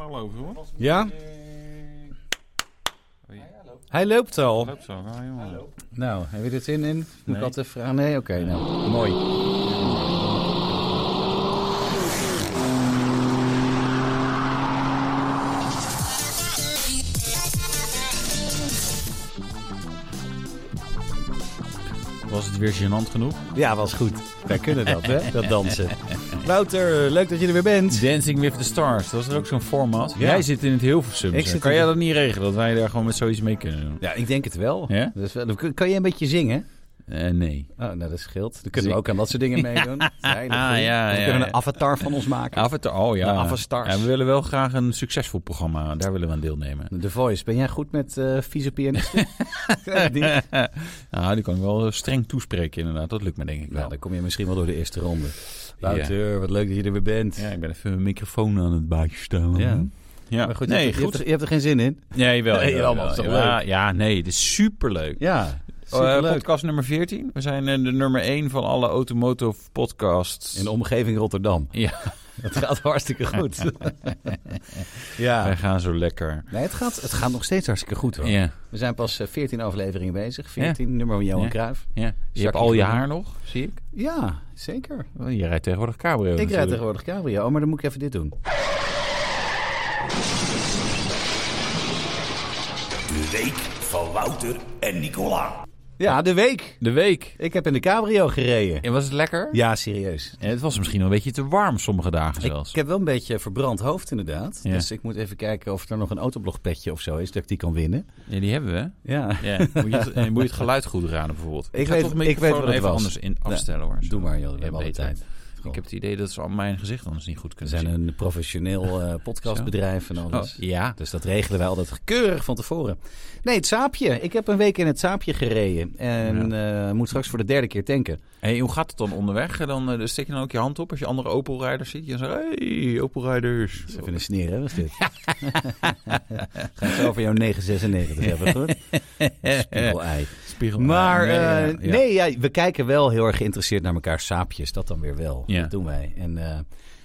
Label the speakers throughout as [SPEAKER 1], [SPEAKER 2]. [SPEAKER 1] al over hoor.
[SPEAKER 2] Ja? Hij loopt al.
[SPEAKER 1] Loopt zo, nou jongen.
[SPEAKER 2] Nou, heb je dit zin in? Moet
[SPEAKER 1] Nee.
[SPEAKER 2] ik altijd vragen? Nee, oké, nou, mooi.
[SPEAKER 1] Was het weer gênant genoeg?
[SPEAKER 2] Ja, was goed. Wij kunnen dat, hè? Dat dansen. Wouter, leuk dat je er weer bent.
[SPEAKER 1] Dancing with the Stars, dat is er ook zo'n format.
[SPEAKER 2] Ja.
[SPEAKER 1] Jij zit in het Hilversum.
[SPEAKER 2] Ik
[SPEAKER 1] zeg.
[SPEAKER 2] zit
[SPEAKER 1] kan
[SPEAKER 2] in
[SPEAKER 1] jij
[SPEAKER 2] het-
[SPEAKER 1] dat niet regelen, dat wij daar gewoon met zoiets mee kunnen doen?
[SPEAKER 2] Ja, ik denk het wel.
[SPEAKER 1] Ja?
[SPEAKER 2] Dat is wel kan je een beetje zingen?
[SPEAKER 1] Eh, nee.
[SPEAKER 2] Oh, nou, dat scheelt. Dan kunnen we ook aan dat soort dingen meedoen. Veilig,
[SPEAKER 1] Ah,
[SPEAKER 2] goed.
[SPEAKER 1] ja, ja,
[SPEAKER 2] Dan kunnen we
[SPEAKER 1] ja.
[SPEAKER 2] een avatar van ons maken.
[SPEAKER 1] Avatar, oh ja.
[SPEAKER 2] De Avatars.
[SPEAKER 1] Ja, we willen wel graag een succesvol programma, daar willen we aan deelnemen.
[SPEAKER 2] The Voice, ben jij goed met eh vieze pianisten? Ja, die-
[SPEAKER 1] nou, die kan ik wel eh, streng toespreken inderdaad, dat lukt me denk ik wel.
[SPEAKER 2] nou, dan kom je misschien wel door de eerste ronde. Wouter, wat leuk dat je er weer bent.
[SPEAKER 1] Ja, ik ben even mijn microfoon aan het buitje stellen.
[SPEAKER 2] Ja.
[SPEAKER 1] ja.
[SPEAKER 2] Maar goed, je,
[SPEAKER 1] nee,
[SPEAKER 2] hebt, er- Je,
[SPEAKER 1] goed.
[SPEAKER 2] hebt er, je hebt er geen zin in.
[SPEAKER 1] Nee, wel.
[SPEAKER 2] Nee,
[SPEAKER 1] jawel,
[SPEAKER 2] man, is toch
[SPEAKER 1] jawel. ja, nee, dit is superleuk.
[SPEAKER 2] Ja,
[SPEAKER 1] Eh,
[SPEAKER 2] superleuk.
[SPEAKER 1] podcast nummer 14. We zijn eh, de nummer 1 van alle automotive podcasts.
[SPEAKER 2] In de omgeving Rotterdam.
[SPEAKER 1] Ja.
[SPEAKER 2] Dat gaat hartstikke goed.
[SPEAKER 1] Wij
[SPEAKER 2] ja.
[SPEAKER 1] gaan zo lekker.
[SPEAKER 2] Nee, het gaat, het gaat nog steeds hartstikke goed hoor. We zijn pas eh, 14 afleveringen bezig. 14, nummer van Johan
[SPEAKER 1] Ja.
[SPEAKER 2] Cruijff.
[SPEAKER 1] ja. Je hebt
[SPEAKER 2] Zakje
[SPEAKER 1] al je
[SPEAKER 2] groen.
[SPEAKER 1] haar nog, zie ik.
[SPEAKER 2] Ja, zeker.
[SPEAKER 1] Oh, Je rijdt tegenwoordig cabrio
[SPEAKER 2] ik rijd
[SPEAKER 1] natuurlijk.
[SPEAKER 2] tegenwoordig cabrio, Oh, maar dan moet ik even dit doen.
[SPEAKER 3] De week van Wouter en Nicola.
[SPEAKER 2] Ja, de week.
[SPEAKER 1] De week.
[SPEAKER 2] Ik heb in de cabrio gereden.
[SPEAKER 1] En was het lekker?
[SPEAKER 2] Ja, serieus.
[SPEAKER 1] En het was misschien wel een beetje te warm sommige dagen zelfs.
[SPEAKER 2] Ik heb wel een beetje verbrand hoofd inderdaad.
[SPEAKER 1] Ja.
[SPEAKER 2] Dus ik moet even kijken of er nog een autoblogpetje of zo is dat ik die kan winnen.
[SPEAKER 1] Ja, die hebben we.
[SPEAKER 2] Ja,
[SPEAKER 1] Ja. moet, je het, en moet je het geluid goed raden bijvoorbeeld.
[SPEAKER 2] Ik
[SPEAKER 1] ga
[SPEAKER 2] weet-
[SPEAKER 1] toch mijn
[SPEAKER 2] ik weet
[SPEAKER 1] microfoon
[SPEAKER 2] wat het
[SPEAKER 1] even
[SPEAKER 2] was.
[SPEAKER 1] anders in afstellen hoor.
[SPEAKER 2] doe maar joh, we
[SPEAKER 1] Ja,
[SPEAKER 2] hebben alle
[SPEAKER 1] beter.
[SPEAKER 2] tijd.
[SPEAKER 1] Ik heb het idee dat ze al mijn gezicht anders niet goed
[SPEAKER 2] We
[SPEAKER 1] kunnen
[SPEAKER 2] zijn
[SPEAKER 1] zien.
[SPEAKER 2] een professioneel eh, podcastbedrijf en
[SPEAKER 1] Oh,
[SPEAKER 2] alles.
[SPEAKER 1] ja.
[SPEAKER 2] Dus dat regelen wij altijd keurig van tevoren. Nee, het saapje. Ik heb een week in het saapje gereden. En eh, moet straks voor de derde keer tanken.
[SPEAKER 1] Hey, hoe gaat het dan onderweg? Dan eh, steek je dan ook je hand op als je andere Opel-rijders ziet. Je zegt, hey, Opel-rijders.
[SPEAKER 2] Even een sneer, hè, was dit? Gaan we het over jouw 996 hebben, goed? Spiegelei.
[SPEAKER 1] Spiegel.
[SPEAKER 2] Maar
[SPEAKER 1] Ja, ja, ja,
[SPEAKER 2] eh,
[SPEAKER 1] ja.
[SPEAKER 2] nee, ja, we kijken wel heel erg geïnteresseerd naar elkaar saapjes. Dat dan weer wel.
[SPEAKER 1] Ja.
[SPEAKER 2] Dat doen wij. En eh,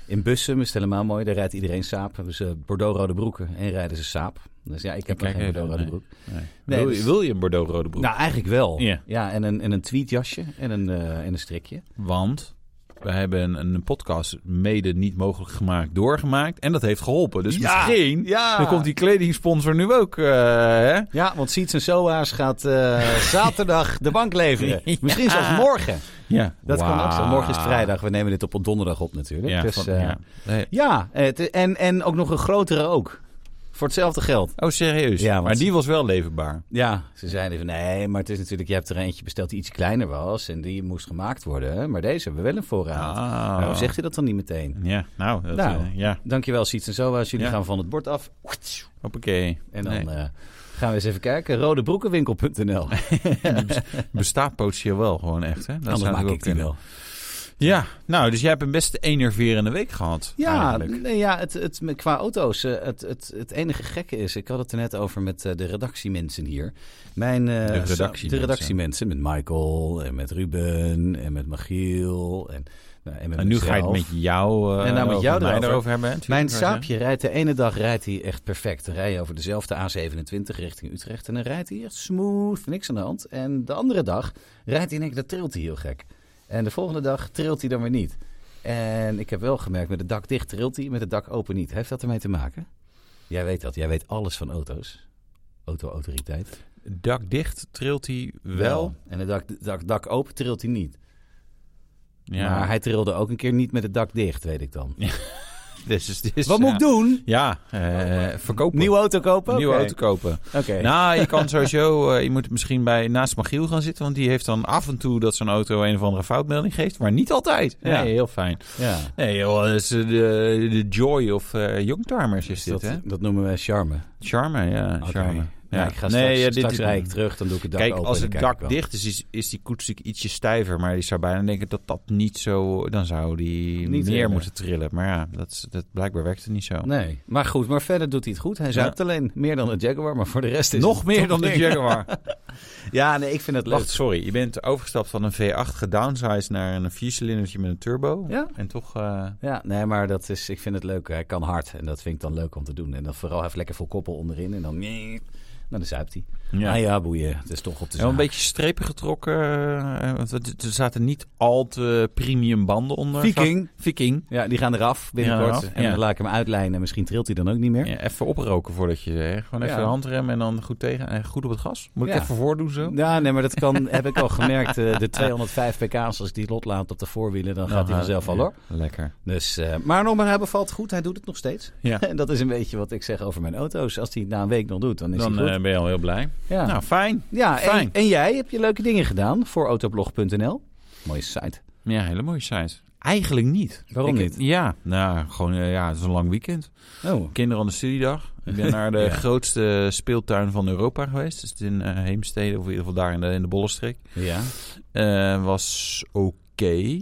[SPEAKER 2] in Bussum is het helemaal mooi. Daar rijdt iedereen saap. Hebben ze bordeaux-rode broeken en rijden ze saap. Dus ja, ik heb
[SPEAKER 1] kijk
[SPEAKER 2] nog geen
[SPEAKER 1] even,
[SPEAKER 2] bordeaux-rode
[SPEAKER 1] nee.
[SPEAKER 2] broek.
[SPEAKER 1] Nee.
[SPEAKER 2] Nee,
[SPEAKER 1] wil, je,
[SPEAKER 2] dus-
[SPEAKER 1] wil je een Bordeaux-rode broek?
[SPEAKER 2] Nou, eigenlijk wel.
[SPEAKER 1] Ja.
[SPEAKER 2] Ja, en een, en een tweetjasje en een, eh, en een strikje.
[SPEAKER 1] Want we hebben een, een podcast mede niet mogelijk gemaakt, doorgemaakt. En dat heeft geholpen. Dus
[SPEAKER 2] Ja.
[SPEAKER 1] misschien
[SPEAKER 2] Ja.
[SPEAKER 1] dan komt die kledingsponsor nu ook. eh, hè?
[SPEAKER 2] Ja, want Siets en Soa's gaat eh, zaterdag de bank leveren.
[SPEAKER 1] Ja.
[SPEAKER 2] Misschien zelfs morgen.
[SPEAKER 1] Ja.
[SPEAKER 2] Dat kan ook zo.
[SPEAKER 1] Wauw.
[SPEAKER 2] Morgen is vrijdag. We nemen dit op op donderdag op natuurlijk.
[SPEAKER 1] Ja,
[SPEAKER 2] dus,
[SPEAKER 1] van-
[SPEAKER 2] eh,
[SPEAKER 1] ja. Nee.
[SPEAKER 2] ja, het- en, en ook nog een grotere ook. Voor hetzelfde geld.
[SPEAKER 1] Oh, serieus?
[SPEAKER 2] Ja, want-
[SPEAKER 1] maar die was wel leverbaar.
[SPEAKER 2] Ja, ze zeiden van nee, maar het is natuurlijk, je hebt er eentje besteld die iets kleiner was en die moest gemaakt worden. Maar deze hebben we wel een voorraad.
[SPEAKER 1] Ah.
[SPEAKER 2] Waarom zegt hij dat dan niet meteen?
[SPEAKER 1] Ja, nou, dat,
[SPEAKER 2] Nou.
[SPEAKER 1] eh, ja.
[SPEAKER 2] Dankjewel Siets en Soa's. Jullie
[SPEAKER 1] Ja.
[SPEAKER 2] gaan van het bord af.
[SPEAKER 1] Hoppakee.
[SPEAKER 2] En dan
[SPEAKER 1] Nee.
[SPEAKER 2] eh, gaan we eens even kijken. Rodebroekenwinkel.nl.
[SPEAKER 1] bestaat potentieel wel gewoon echt, hè? Dat
[SPEAKER 2] Anders
[SPEAKER 1] zou
[SPEAKER 2] Nou, maak ik die
[SPEAKER 1] kunnen.
[SPEAKER 2] wel.
[SPEAKER 1] Ja, nou, dus jij hebt een best enerverende week gehad.
[SPEAKER 2] Ja, nou,
[SPEAKER 1] eigenlijk.
[SPEAKER 2] nee, ja het, het, qua auto's. eh, Het, het, het enige gekke is, ik had het er net over met eh, de redactiemensen hier. Mijn, eh,
[SPEAKER 1] De redactiemensen.
[SPEAKER 2] de redactiemensen met Michael en met Ruben en met Michiel en, nou, en met
[SPEAKER 1] En nu ga je het
[SPEAKER 2] mezelf.
[SPEAKER 1] met jou eh,
[SPEAKER 2] En nou met
[SPEAKER 1] over
[SPEAKER 2] jou
[SPEAKER 1] mij
[SPEAKER 2] erover.
[SPEAKER 1] erover hebben. hè? Tuurlijk,
[SPEAKER 2] Mijn
[SPEAKER 1] maar zeg.
[SPEAKER 2] saapje rijdt de ene dag rijdt hij echt perfect. Dan rij je over dezelfde A27 richting Utrecht. En dan rijdt hij echt smooth, niks aan de hand. En de andere dag rijdt hij in één keer, dat trilt hij heel gek. En de volgende dag trilt hij dan weer niet. En ik heb wel gemerkt, met het dak dicht trilt hij, met het dak open niet. Heeft dat ermee te maken? Jij weet dat, jij weet alles van auto's. Auto-autoriteit.
[SPEAKER 1] Dak dicht trilt hij wel.
[SPEAKER 2] En het dak, dak, dak open trilt hij niet.
[SPEAKER 1] Ja,
[SPEAKER 2] Maar hij trilde ook een keer niet met het dak dicht, weet ik dan.
[SPEAKER 1] dus, is- dus,
[SPEAKER 2] Wat moet
[SPEAKER 1] ja.
[SPEAKER 2] ik doen? Oh,
[SPEAKER 1] Ja, eh, verkopen.
[SPEAKER 2] Nieuwe auto kopen?
[SPEAKER 1] Nieuwe
[SPEAKER 2] Oké.
[SPEAKER 1] auto kopen.
[SPEAKER 2] Oké.
[SPEAKER 1] Nou, je kan sowieso, eh, je moet misschien bij, naast Magiel gaan zitten. Want die heeft dan af en toe dat zo'n auto een of andere foutmelding geeft. Maar niet altijd.
[SPEAKER 2] Ja.
[SPEAKER 1] Nee, heel fijn.
[SPEAKER 2] Ja.
[SPEAKER 1] Nee, joh, dat is eh, de, de joy of eh youngtimers is dit,
[SPEAKER 2] dat,
[SPEAKER 1] hè?
[SPEAKER 2] dat noemen wij charme.
[SPEAKER 1] Charme, ja,
[SPEAKER 2] Oké.
[SPEAKER 1] charme.
[SPEAKER 2] Ja, ik ga straks,
[SPEAKER 1] ja, dit
[SPEAKER 2] straks
[SPEAKER 1] is-
[SPEAKER 2] rij ik terug, dan doe ik het dak
[SPEAKER 1] Kijk,
[SPEAKER 2] open.
[SPEAKER 1] als
[SPEAKER 2] en
[SPEAKER 1] het
[SPEAKER 2] dan kijk
[SPEAKER 1] dak
[SPEAKER 2] ik wel.
[SPEAKER 1] dicht is, is, is die koets natuurlijk ietsje stijver. Maar je zou bijna denken dat dat niet zo... Dan zou die
[SPEAKER 2] Niet
[SPEAKER 1] meer
[SPEAKER 2] trillen.
[SPEAKER 1] moeten trillen. Maar ja, dat, is- dat blijkbaar werkt het niet zo.
[SPEAKER 2] Nee, maar goed, maar verder doet hij het goed. Hij zuipt alleen meer dan de Jaguar, maar voor de rest is
[SPEAKER 1] Nog
[SPEAKER 2] het
[SPEAKER 1] meer
[SPEAKER 2] toch
[SPEAKER 1] dan de
[SPEAKER 2] niks.
[SPEAKER 1] Jaguar.
[SPEAKER 2] Ja, nee, ik vind het leuk.
[SPEAKER 1] Wacht, sorry. Je bent overgestapt van een V8 gedownsized naar een viercilindertje met een turbo.
[SPEAKER 2] Ja.
[SPEAKER 1] En toch... eh,
[SPEAKER 2] Ja, nee, maar dat is, ik vind het leuk. Hij kan hard en dat vind ik dan leuk om te doen. En dan vooral even lekker vol koppel onderin en dan... Nou, dan zuipt hij. Ja.
[SPEAKER 1] ja.
[SPEAKER 2] Ah ja, boeien. Het is toch op de
[SPEAKER 1] Ja, wel
[SPEAKER 2] zaak.
[SPEAKER 1] een beetje strepen getrokken. eh, Want er er zaten niet al te premium banden onder.
[SPEAKER 2] Viking.
[SPEAKER 1] Viking.
[SPEAKER 2] Ja, die gaan eraf binnenkort.
[SPEAKER 1] eraf,
[SPEAKER 2] En
[SPEAKER 1] ja.
[SPEAKER 2] dan laat ik hem uitlijnen en misschien trilt hij dan ook niet meer.
[SPEAKER 1] Ja, even oproken voordat je... hè, Gewoon even
[SPEAKER 2] Ja.
[SPEAKER 1] de handrem en dan goed tegen. En goed op het gas. Moet ik
[SPEAKER 2] Ja.
[SPEAKER 1] even voordoen zo?
[SPEAKER 2] Ja, nee, maar dat kan, heb ik al gemerkt. eh, de 205 pk's, als ik die lot laat op de voorwielen, dan
[SPEAKER 1] Nou,
[SPEAKER 2] gaat hij vanzelf
[SPEAKER 1] eh,
[SPEAKER 2] al hoor.
[SPEAKER 1] Lekker.
[SPEAKER 2] Dus, eh, maar nog maar, hij bevalt goed. Hij doet het nog steeds.
[SPEAKER 1] Ja.
[SPEAKER 2] En dat is een beetje wat ik zeg over mijn auto's. Als hij het na een week nog doet, dan is
[SPEAKER 1] Dan
[SPEAKER 2] hij goed.
[SPEAKER 1] eh, ben je al heel blij.
[SPEAKER 2] ja,
[SPEAKER 1] Nou, fijn.
[SPEAKER 2] ja en,
[SPEAKER 1] fijn.
[SPEAKER 2] en jij heb je leuke dingen gedaan voor autoblog.nl. Mooie site.
[SPEAKER 1] Ja, hele mooie site. Eigenlijk niet.
[SPEAKER 2] Waarom
[SPEAKER 1] Ik-
[SPEAKER 2] niet?
[SPEAKER 1] Ja, nou, gewoon, eh, ja, het is een lang weekend.
[SPEAKER 2] Oh,
[SPEAKER 1] Kinderen aan de studiedag. Ik ben naar de
[SPEAKER 2] Ja.
[SPEAKER 1] grootste speeltuin van Europa geweest. Dus in eh, Heemstede, of in ieder geval daar in de, in de Bollenstreek.
[SPEAKER 2] ja.
[SPEAKER 1] Eh, was oké.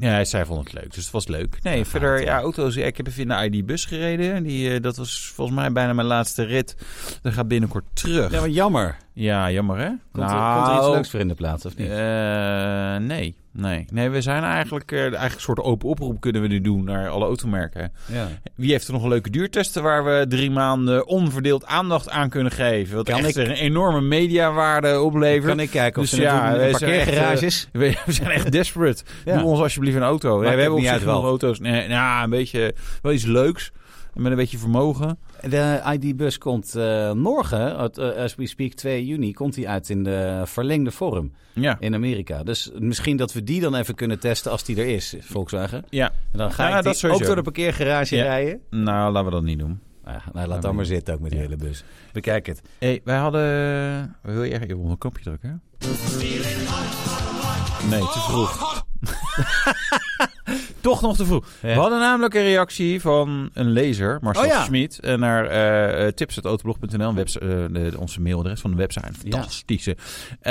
[SPEAKER 1] Ja, zij vond het leuk, dus het was leuk. Nee,
[SPEAKER 2] Ja, gaat,
[SPEAKER 1] verder,
[SPEAKER 2] ja.
[SPEAKER 1] ja, auto's. ja, Ik heb even in de ID-bus gereden. Die, eh, dat was volgens mij bijna mijn laatste rit. Dat gaat binnenkort terug.
[SPEAKER 2] ja,
[SPEAKER 1] Ja,
[SPEAKER 2] maar jammer.
[SPEAKER 1] jammer hè? Nou,
[SPEAKER 2] Komt, er, komt er iets leuks voor in de plaats, of niet?
[SPEAKER 1] Eh, nee, nee. Nee, we zijn eigenlijk, eh, eigenlijk een soort open oproep kunnen we nu doen naar alle automerken.
[SPEAKER 2] Ja.
[SPEAKER 1] Wie heeft er nog een leuke duurtesten waar we drie maanden onverdeeld aandacht aan kunnen geven? Wat
[SPEAKER 2] Kan
[SPEAKER 1] echt
[SPEAKER 2] ik-
[SPEAKER 1] een enorme mediawaarde oplevert.
[SPEAKER 2] Kan ik kijken of
[SPEAKER 1] Dus
[SPEAKER 2] ze het
[SPEAKER 1] ja,
[SPEAKER 2] doen in
[SPEAKER 1] wij
[SPEAKER 2] de
[SPEAKER 1] zijn echt,
[SPEAKER 2] parkeergarages?
[SPEAKER 1] We, we zijn echt desperate.
[SPEAKER 2] Ja.
[SPEAKER 1] Doe ons alsjeblieft een auto.
[SPEAKER 2] het
[SPEAKER 1] Nee, we hebben op
[SPEAKER 2] niet
[SPEAKER 1] zich
[SPEAKER 2] uit wel.
[SPEAKER 1] genoeg auto's. Nee, nou, een beetje, wel iets leuks. Met een beetje vermogen.
[SPEAKER 2] De ID-bus komt eh, morgen, uit, eh, as we speak 2 juni, komt die uit in de verlengde vorm
[SPEAKER 1] Ja.
[SPEAKER 2] in Amerika. Dus misschien dat we die dan even kunnen testen als die er is, Volkswagen.
[SPEAKER 1] ja.
[SPEAKER 2] En dan ga
[SPEAKER 1] Ja,
[SPEAKER 2] ik
[SPEAKER 1] dat
[SPEAKER 2] die ook
[SPEAKER 1] sowieso.
[SPEAKER 2] door de parkeergarage
[SPEAKER 1] Ja.
[SPEAKER 2] rijden.
[SPEAKER 1] Nou, laten we dat niet doen.
[SPEAKER 2] Ah, nou, laat dan maar zitten ook met die hele bus. Bekijk het.
[SPEAKER 1] hey, wij hadden... Wil je echt even op een kopje drukken? hè? Nee, te vroeg. Toch nog te vroeg.
[SPEAKER 2] Ja.
[SPEAKER 1] We hadden namelijk een reactie van een lezer, Marcel
[SPEAKER 2] Oh
[SPEAKER 1] Smit,
[SPEAKER 2] ja.
[SPEAKER 1] Schmid, eh, naar eh tips.autoblog.nl, webs- eh, de- de- onze mailadres van de website. Fantastische. Eh,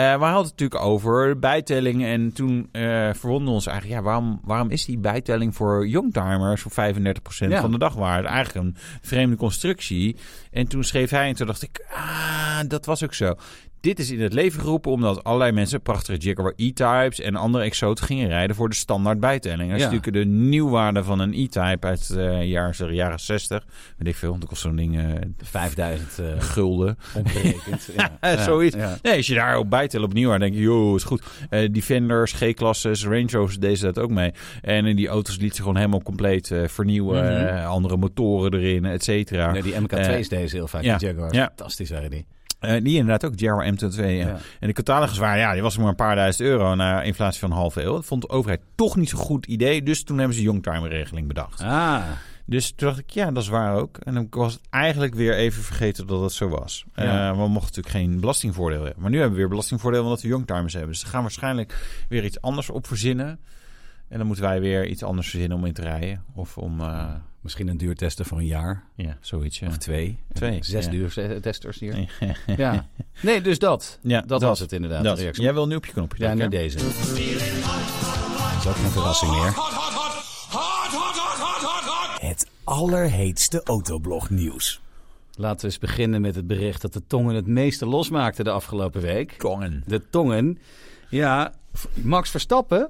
[SPEAKER 1] we hadden het natuurlijk over bijtelling en toen eh verwonden we ons eigenlijk, ja, waarom, waarom is die bijtelling voor youngtimers voor 35%
[SPEAKER 2] Ja.
[SPEAKER 1] van de dagwaarde? Eigenlijk een vreemde constructie. En toen schreef hij en toen dacht ik, ah, dat was ook zo. Dit is in het leven geroepen omdat allerlei mensen prachtige Jaguar E-Types en andere exoten gingen rijden voor de standaard bijtelling. Als
[SPEAKER 2] Ja.
[SPEAKER 1] je natuurlijk de nieuwwaarde van een E-Type uit eh, de jaren, jaren 60, weet ik veel, dat kost zo'n ding eh,
[SPEAKER 2] 5000 eh
[SPEAKER 1] gulden.
[SPEAKER 2] omgerekend. ja.
[SPEAKER 1] Eh,
[SPEAKER 2] Ja,
[SPEAKER 1] zoiets.
[SPEAKER 2] ja.
[SPEAKER 1] Nee, als je daar op bijtelt opnieuw aan, denk je, joh, is goed. Eh Defenders, G-klasses, Range Rovers, deze dat ook mee. En in die auto's liet ze gewoon helemaal compleet eh, vernieuwen.
[SPEAKER 2] Mhm.
[SPEAKER 1] eh, andere motoren erin, et cetera.
[SPEAKER 2] Nee, die MK2's deze heel vaak,
[SPEAKER 1] Eh, ja.
[SPEAKER 2] die Jaguars.
[SPEAKER 1] Ja.
[SPEAKER 2] Fantastisch waren die.
[SPEAKER 1] Eh, die inderdaad ook, Jaguar M22. ja.
[SPEAKER 2] Ja.
[SPEAKER 1] En de catalogus waren, ja, die was maar een paar duizend euro na inflatie van een halve eeuw. Dat vond de overheid toch niet zo'n goed idee. Dus toen hebben ze de youngtimer-regeling bedacht.
[SPEAKER 2] Ah,
[SPEAKER 1] Dus toen dacht ik, ja, dat is waar ook. En dan was het eigenlijk weer even vergeten dat dat zo was.
[SPEAKER 2] Ja.
[SPEAKER 1] Eh, we mochten natuurlijk geen belastingvoordeel hebben. Maar nu hebben we weer belastingvoordeel omdat we youngtimers hebben. Dus ze gaan waarschijnlijk weer iets anders op verzinnen. En dan moeten wij weer iets anders verzinnen om in te rijden. Of om, eh,
[SPEAKER 2] misschien een duurtester voor een jaar
[SPEAKER 1] ja, zoiets. Ja.
[SPEAKER 2] of twee.
[SPEAKER 1] Twee,
[SPEAKER 2] Zes
[SPEAKER 1] ja.
[SPEAKER 2] duurtesters hier. Ja. Nee, dus dat.
[SPEAKER 1] Ja,
[SPEAKER 2] dat, was het inderdaad.
[SPEAKER 1] Dat.
[SPEAKER 2] de reactie.
[SPEAKER 1] Jij wil nu op je knopje
[SPEAKER 2] Ja, nou,
[SPEAKER 1] drukken,
[SPEAKER 2] nu
[SPEAKER 1] hè?
[SPEAKER 2] deze. Dat is ook geen verrassing meer.
[SPEAKER 3] Hot, hot, hot. Hot, hot, hot, hot, hot, hot.
[SPEAKER 4] Het allerheetste autoblognieuws.
[SPEAKER 2] Laten we eens beginnen met het bericht dat de tongen het meeste losmaakten de afgelopen week.
[SPEAKER 1] Kongen.
[SPEAKER 2] De tongen. Ja, Max Verstappen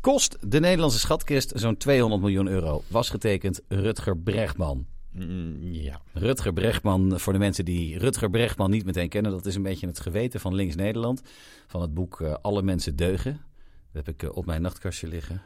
[SPEAKER 2] kost de Nederlandse schatkist zo'n 200 miljoen euro. Was getekend Rutger Bregman.
[SPEAKER 1] Mm, Ja.
[SPEAKER 2] Rutger Bregman, voor de mensen die Rutger Bregman niet meteen kennen, dat is een beetje het geweten van Links Nederland. Van het boek eh, Alle mensen deugen. Dat heb ik eh, op mijn nachtkastje liggen.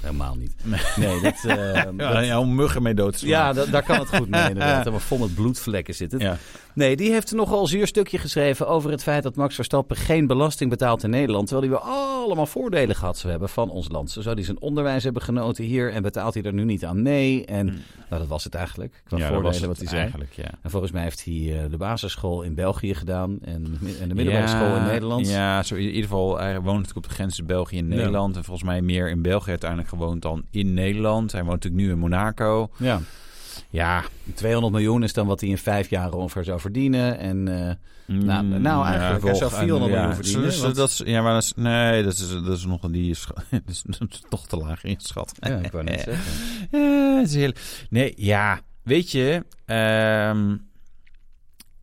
[SPEAKER 2] Helemaal niet. Nee, dat, eh,
[SPEAKER 1] Ja,
[SPEAKER 2] dat-
[SPEAKER 1] ja, om muggen mee dood te slaan.
[SPEAKER 2] ja, da- daar kan het goed mee inderdaad. Helemaal vol met bloedvlekken zit het.
[SPEAKER 1] Ja.
[SPEAKER 2] Nee, die heeft nogal zuur stukje geschreven over het feit dat Max Verstappen geen belasting betaalt in Nederland. Terwijl hij wel allemaal voordelen gehad zou hebben van ons land. Zo zou hij zijn onderwijs hebben genoten hier en betaalt hij er nu niet aan mee. En nou, dat was het eigenlijk. Qua
[SPEAKER 1] Hmm. Ja, dat was het
[SPEAKER 2] voordelen wat hij zei.
[SPEAKER 1] Eigenlijk, ja.
[SPEAKER 2] En volgens mij heeft hij eh, de basisschool in België gedaan en, de mi- en de middelbare school in Nederland.
[SPEAKER 1] Ja, zo in ieder geval. Hij woont natuurlijk op de grens tussen België en
[SPEAKER 2] Ja.
[SPEAKER 1] Nederland. En volgens mij meer in België uiteindelijk gewoond dan in Nederland. Hij woont natuurlijk nu in Monaco.
[SPEAKER 2] Ja.
[SPEAKER 1] Ja.
[SPEAKER 2] 200 miljoen is dan wat hij in vijf jaar ongeveer zou verdienen. En eh, Nou,
[SPEAKER 1] Mm,
[SPEAKER 2] nou, eigenlijk, hij zou
[SPEAKER 1] volg-
[SPEAKER 2] 400
[SPEAKER 1] ja.
[SPEAKER 2] miljoen verdienen,
[SPEAKER 1] Dus, eh,
[SPEAKER 2] want-
[SPEAKER 1] dat is, ja, maar dat is, nee, dat is, dat is nog een die is, dat is, dat is toch te laag ingeschat.
[SPEAKER 2] ja, ik wou net zeggen.
[SPEAKER 1] Eh, het is heel- nee, ja, weet je, ehm,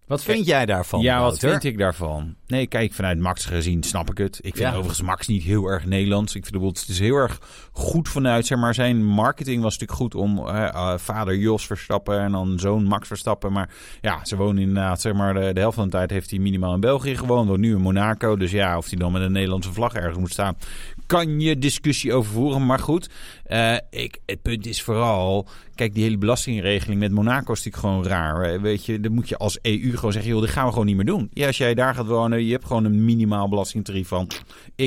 [SPEAKER 2] Wat vind jij daarvan?
[SPEAKER 1] ja, wat
[SPEAKER 2] Wouter?
[SPEAKER 1] vind ik daarvan? Nee, kijk, vanuit Max gezien snap ik het. Ik vind
[SPEAKER 2] Ja.
[SPEAKER 1] overigens Max niet heel erg Nederlands. Ik vind bijvoorbeeld, het is heel erg goed vanuit, zeg maar, zijn marketing was natuurlijk goed om eh, eh, vader Jos Verstappen en dan zoon Max Verstappen. Maar ja, ze wonen inderdaad, zeg maar, de, de helft van de tijd heeft hij minimaal in België gewoond. Woont nu in Monaco. Dus ja, of hij dan met een Nederlandse vlag ergens moet staan, kan je discussie over voeren. Maar goed, eh, ik, het punt is vooral, kijk, die hele belastingregeling met Monaco is natuurlijk gewoon raar. Eh, Weet je, dan moet je als EU gewoon zeggen, joh, dit gaan we gewoon niet meer doen. Ja, als jij daar gaat wonen, je hebt gewoon een minimaal belastingtarief van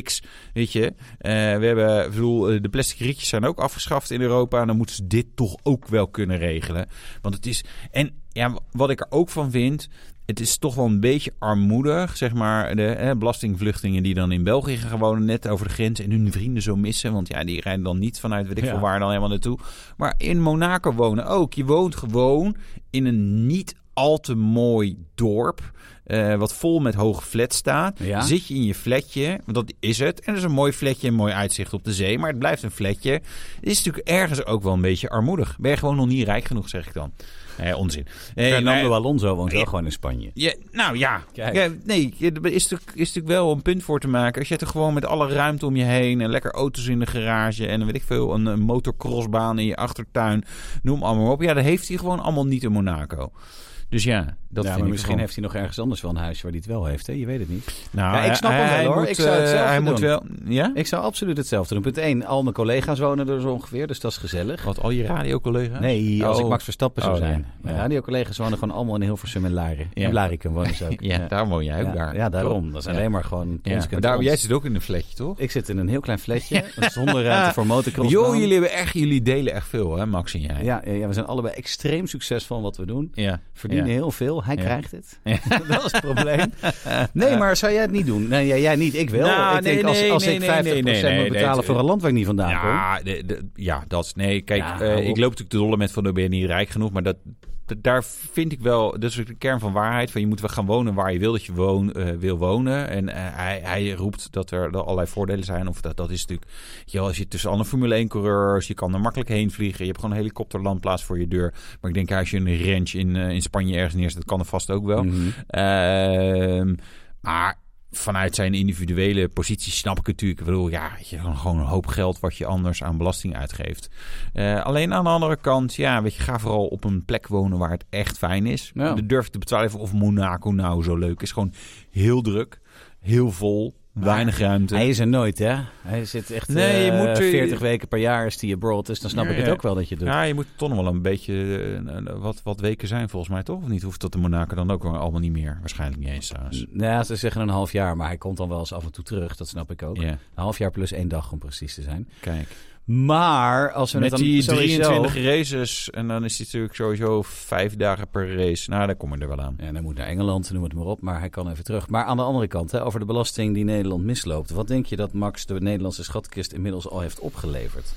[SPEAKER 1] x, weet je. Eh, we hebben, ik bedoel, eh, de plastic rietjes zijn ook afgeschaft in Europa. Dan moeten ze dit toch ook wel kunnen regelen. Want het is, en ja, wat ik er ook van vind, het is toch wel een beetje armoedig, zeg maar. De eh, belastingvluchtingen die dan in België gaan wonen, net over de grens en hun vrienden zo missen. Want ja, die rijden dan niet vanuit weet ik
[SPEAKER 2] Ja.
[SPEAKER 1] veel waar dan helemaal naartoe. Maar in Monaco wonen ook. Je woont gewoon in een niet al te mooi dorp. eh, wat vol met hoge flats staat.
[SPEAKER 2] Ja.
[SPEAKER 1] Zit je in je flatje, want dat is het. En dat is een mooi flatje, een mooi uitzicht op de zee. Maar het blijft een flatje. Het is natuurlijk ergens ook wel een beetje armoedig. Ben je gewoon nog niet rijk genoeg, zeg ik dan. Eh, onzin. Eh,
[SPEAKER 2] Fernando
[SPEAKER 1] maar-
[SPEAKER 2] Alonso woont wel
[SPEAKER 1] Ja.
[SPEAKER 2] gewoon in Spanje.
[SPEAKER 1] ja, nou ja.
[SPEAKER 2] Kijk.
[SPEAKER 1] ja nee, ja, er is natuurlijk, is natuurlijk wel een punt voor te maken. Als je er gewoon met alle ruimte om je heen en lekker auto's in de garage en weet ik veel, een, een motocrossbaan in je achtertuin, noem allemaal op. Ja, dat heeft hij gewoon allemaal niet in Monaco. Dus ja, dat
[SPEAKER 2] ja,
[SPEAKER 1] vind
[SPEAKER 2] maar
[SPEAKER 1] ik
[SPEAKER 2] misschien
[SPEAKER 1] gewoon-
[SPEAKER 2] heeft hij nog ergens anders wel een huisje waar hij het wel heeft. Hè? Je weet het niet.
[SPEAKER 1] Nou,
[SPEAKER 2] Ja, ik snap hem
[SPEAKER 1] hij,
[SPEAKER 2] wel,
[SPEAKER 1] hij
[SPEAKER 2] hoor.
[SPEAKER 1] Moet,
[SPEAKER 2] Ik zou hetzelfde
[SPEAKER 1] eh, hij
[SPEAKER 2] doen.
[SPEAKER 1] moet wel. Ja?
[SPEAKER 2] Ik zou absoluut hetzelfde doen. Punt 1, al mijn collega's wonen er zo ongeveer, dus dat is gezellig.
[SPEAKER 1] Wat al je radiocollega's?
[SPEAKER 2] Nee, als
[SPEAKER 1] Oh.
[SPEAKER 2] ik Max Verstappen zou
[SPEAKER 1] Oh,
[SPEAKER 2] zijn.
[SPEAKER 1] ja.
[SPEAKER 2] Mijn
[SPEAKER 1] Ja.
[SPEAKER 2] radiocollega's wonen gewoon allemaal in Hilversum en Laren.
[SPEAKER 1] Ja.
[SPEAKER 2] En Blaricum wonen ze ook.
[SPEAKER 1] Ja, daar woon jij ook
[SPEAKER 2] Ja,
[SPEAKER 1] daar.
[SPEAKER 2] ja, daarom.
[SPEAKER 1] Toch?
[SPEAKER 2] Dat is
[SPEAKER 1] Ja.
[SPEAKER 2] alleen maar gewoon
[SPEAKER 1] Ja.
[SPEAKER 2] ons
[SPEAKER 1] Maar
[SPEAKER 2] kent
[SPEAKER 1] daar,
[SPEAKER 2] ons.
[SPEAKER 1] jij zit ook in een flatje, toch?
[SPEAKER 2] Ik zit in een heel klein flatje. Dat is zonder
[SPEAKER 1] eh,
[SPEAKER 2] ruimte voor motocross.
[SPEAKER 1] Joh, jullie, hebben echt, jullie delen echt veel, hè, Max en jij.
[SPEAKER 2] Ja, ja, ja, we zijn allebei extreem succesvol in wat we doen.
[SPEAKER 1] ja.
[SPEAKER 2] Verdienen
[SPEAKER 1] Ja.
[SPEAKER 2] heel veel. Hij
[SPEAKER 1] Ja.
[SPEAKER 2] krijgt het. dat is het probleem. Nee, maar zou jij het niet doen? Nee, jij, jij niet. Ik wel.
[SPEAKER 1] Nou,
[SPEAKER 2] ik
[SPEAKER 1] nee,
[SPEAKER 2] denk als,
[SPEAKER 1] nee,
[SPEAKER 2] als
[SPEAKER 1] nee,
[SPEAKER 2] ik 50%
[SPEAKER 1] nee, nee, nee, nee,
[SPEAKER 2] moet
[SPEAKER 1] nee,
[SPEAKER 2] betalen
[SPEAKER 1] het-
[SPEAKER 2] voor een land waar ik niet vandaan kom.
[SPEAKER 1] Ja, de, de- ja, dat is... Nee, kijk,
[SPEAKER 2] Ja,
[SPEAKER 1] eh,
[SPEAKER 2] hou op.
[SPEAKER 1] ik loop natuurlijk de dolle met van... Dan ben je niet rijk genoeg. Maar dat, dat- daar vind ik wel... Dat is ook de kern van waarheid. Van je moet wel gaan wonen waar je wil dat je woon, eh, wil wonen. En eh, hij, hij roept dat er dat allerlei voordelen zijn. Of dat, dat is natuurlijk... Ja, als je tussen andere Formule 1 coureurs... Je kan er makkelijk heen vliegen. Je hebt gewoon een helikopterlandplaats voor je deur. Maar ik denk, als je een ranch in, eh, in Spanje ergens neerzet... Dat kan er vast ook wel.
[SPEAKER 2] Mhm.
[SPEAKER 1] Ehm, maar vanuit zijn individuele positie snap ik het natuurlijk. Ik bedoel, ja, weet je gewoon- gewoon een hoop geld wat je anders aan belasting uitgeeft. Eh, alleen aan de andere kant, ja, weet je, ga vooral op een plek wonen waar het echt fijn is.
[SPEAKER 2] Ja.
[SPEAKER 1] Dan durf ik te betwijfelen of Monaco nou zo leuk is. Gewoon heel druk, heel vol, weinig ruimte.
[SPEAKER 2] Hij is er nooit, hè? Hij zit echt
[SPEAKER 1] Nee, je
[SPEAKER 2] eh,
[SPEAKER 1] moet, eh,
[SPEAKER 2] 40 weken per jaar is die abroad. Dus dan snap
[SPEAKER 1] Ja,
[SPEAKER 2] ik het
[SPEAKER 1] ja.
[SPEAKER 2] ook wel dat je het doet.
[SPEAKER 1] Ja, je moet toch nog wel een beetje eh, eh, wat, wat weken zijn volgens mij, toch? Of niet? Hoeft dat de Monaco dan ook allemaal niet meer? Waarschijnlijk niet eens trouwens.
[SPEAKER 2] Nou, ja, ze zeggen een half jaar, maar hij komt dan wel eens af en toe terug. Dat snap ik ook.
[SPEAKER 1] Ja,
[SPEAKER 2] Een half jaar plus één dag om precies te zijn.
[SPEAKER 1] kijk.
[SPEAKER 2] Maar als we
[SPEAKER 1] Met
[SPEAKER 2] het dan
[SPEAKER 1] die
[SPEAKER 2] sowieso-
[SPEAKER 1] 23 races en dan is hij natuurlijk sowieso vijf dagen per race. Nou, daar kom je er wel aan.
[SPEAKER 2] En hij moet naar Engeland, noem het maar op, maar hij kan even terug. Maar aan de andere kant, hè, over de belasting die Nederland misloopt. Wat denk je dat Max de Nederlandse schatkist inmiddels al heeft opgeleverd?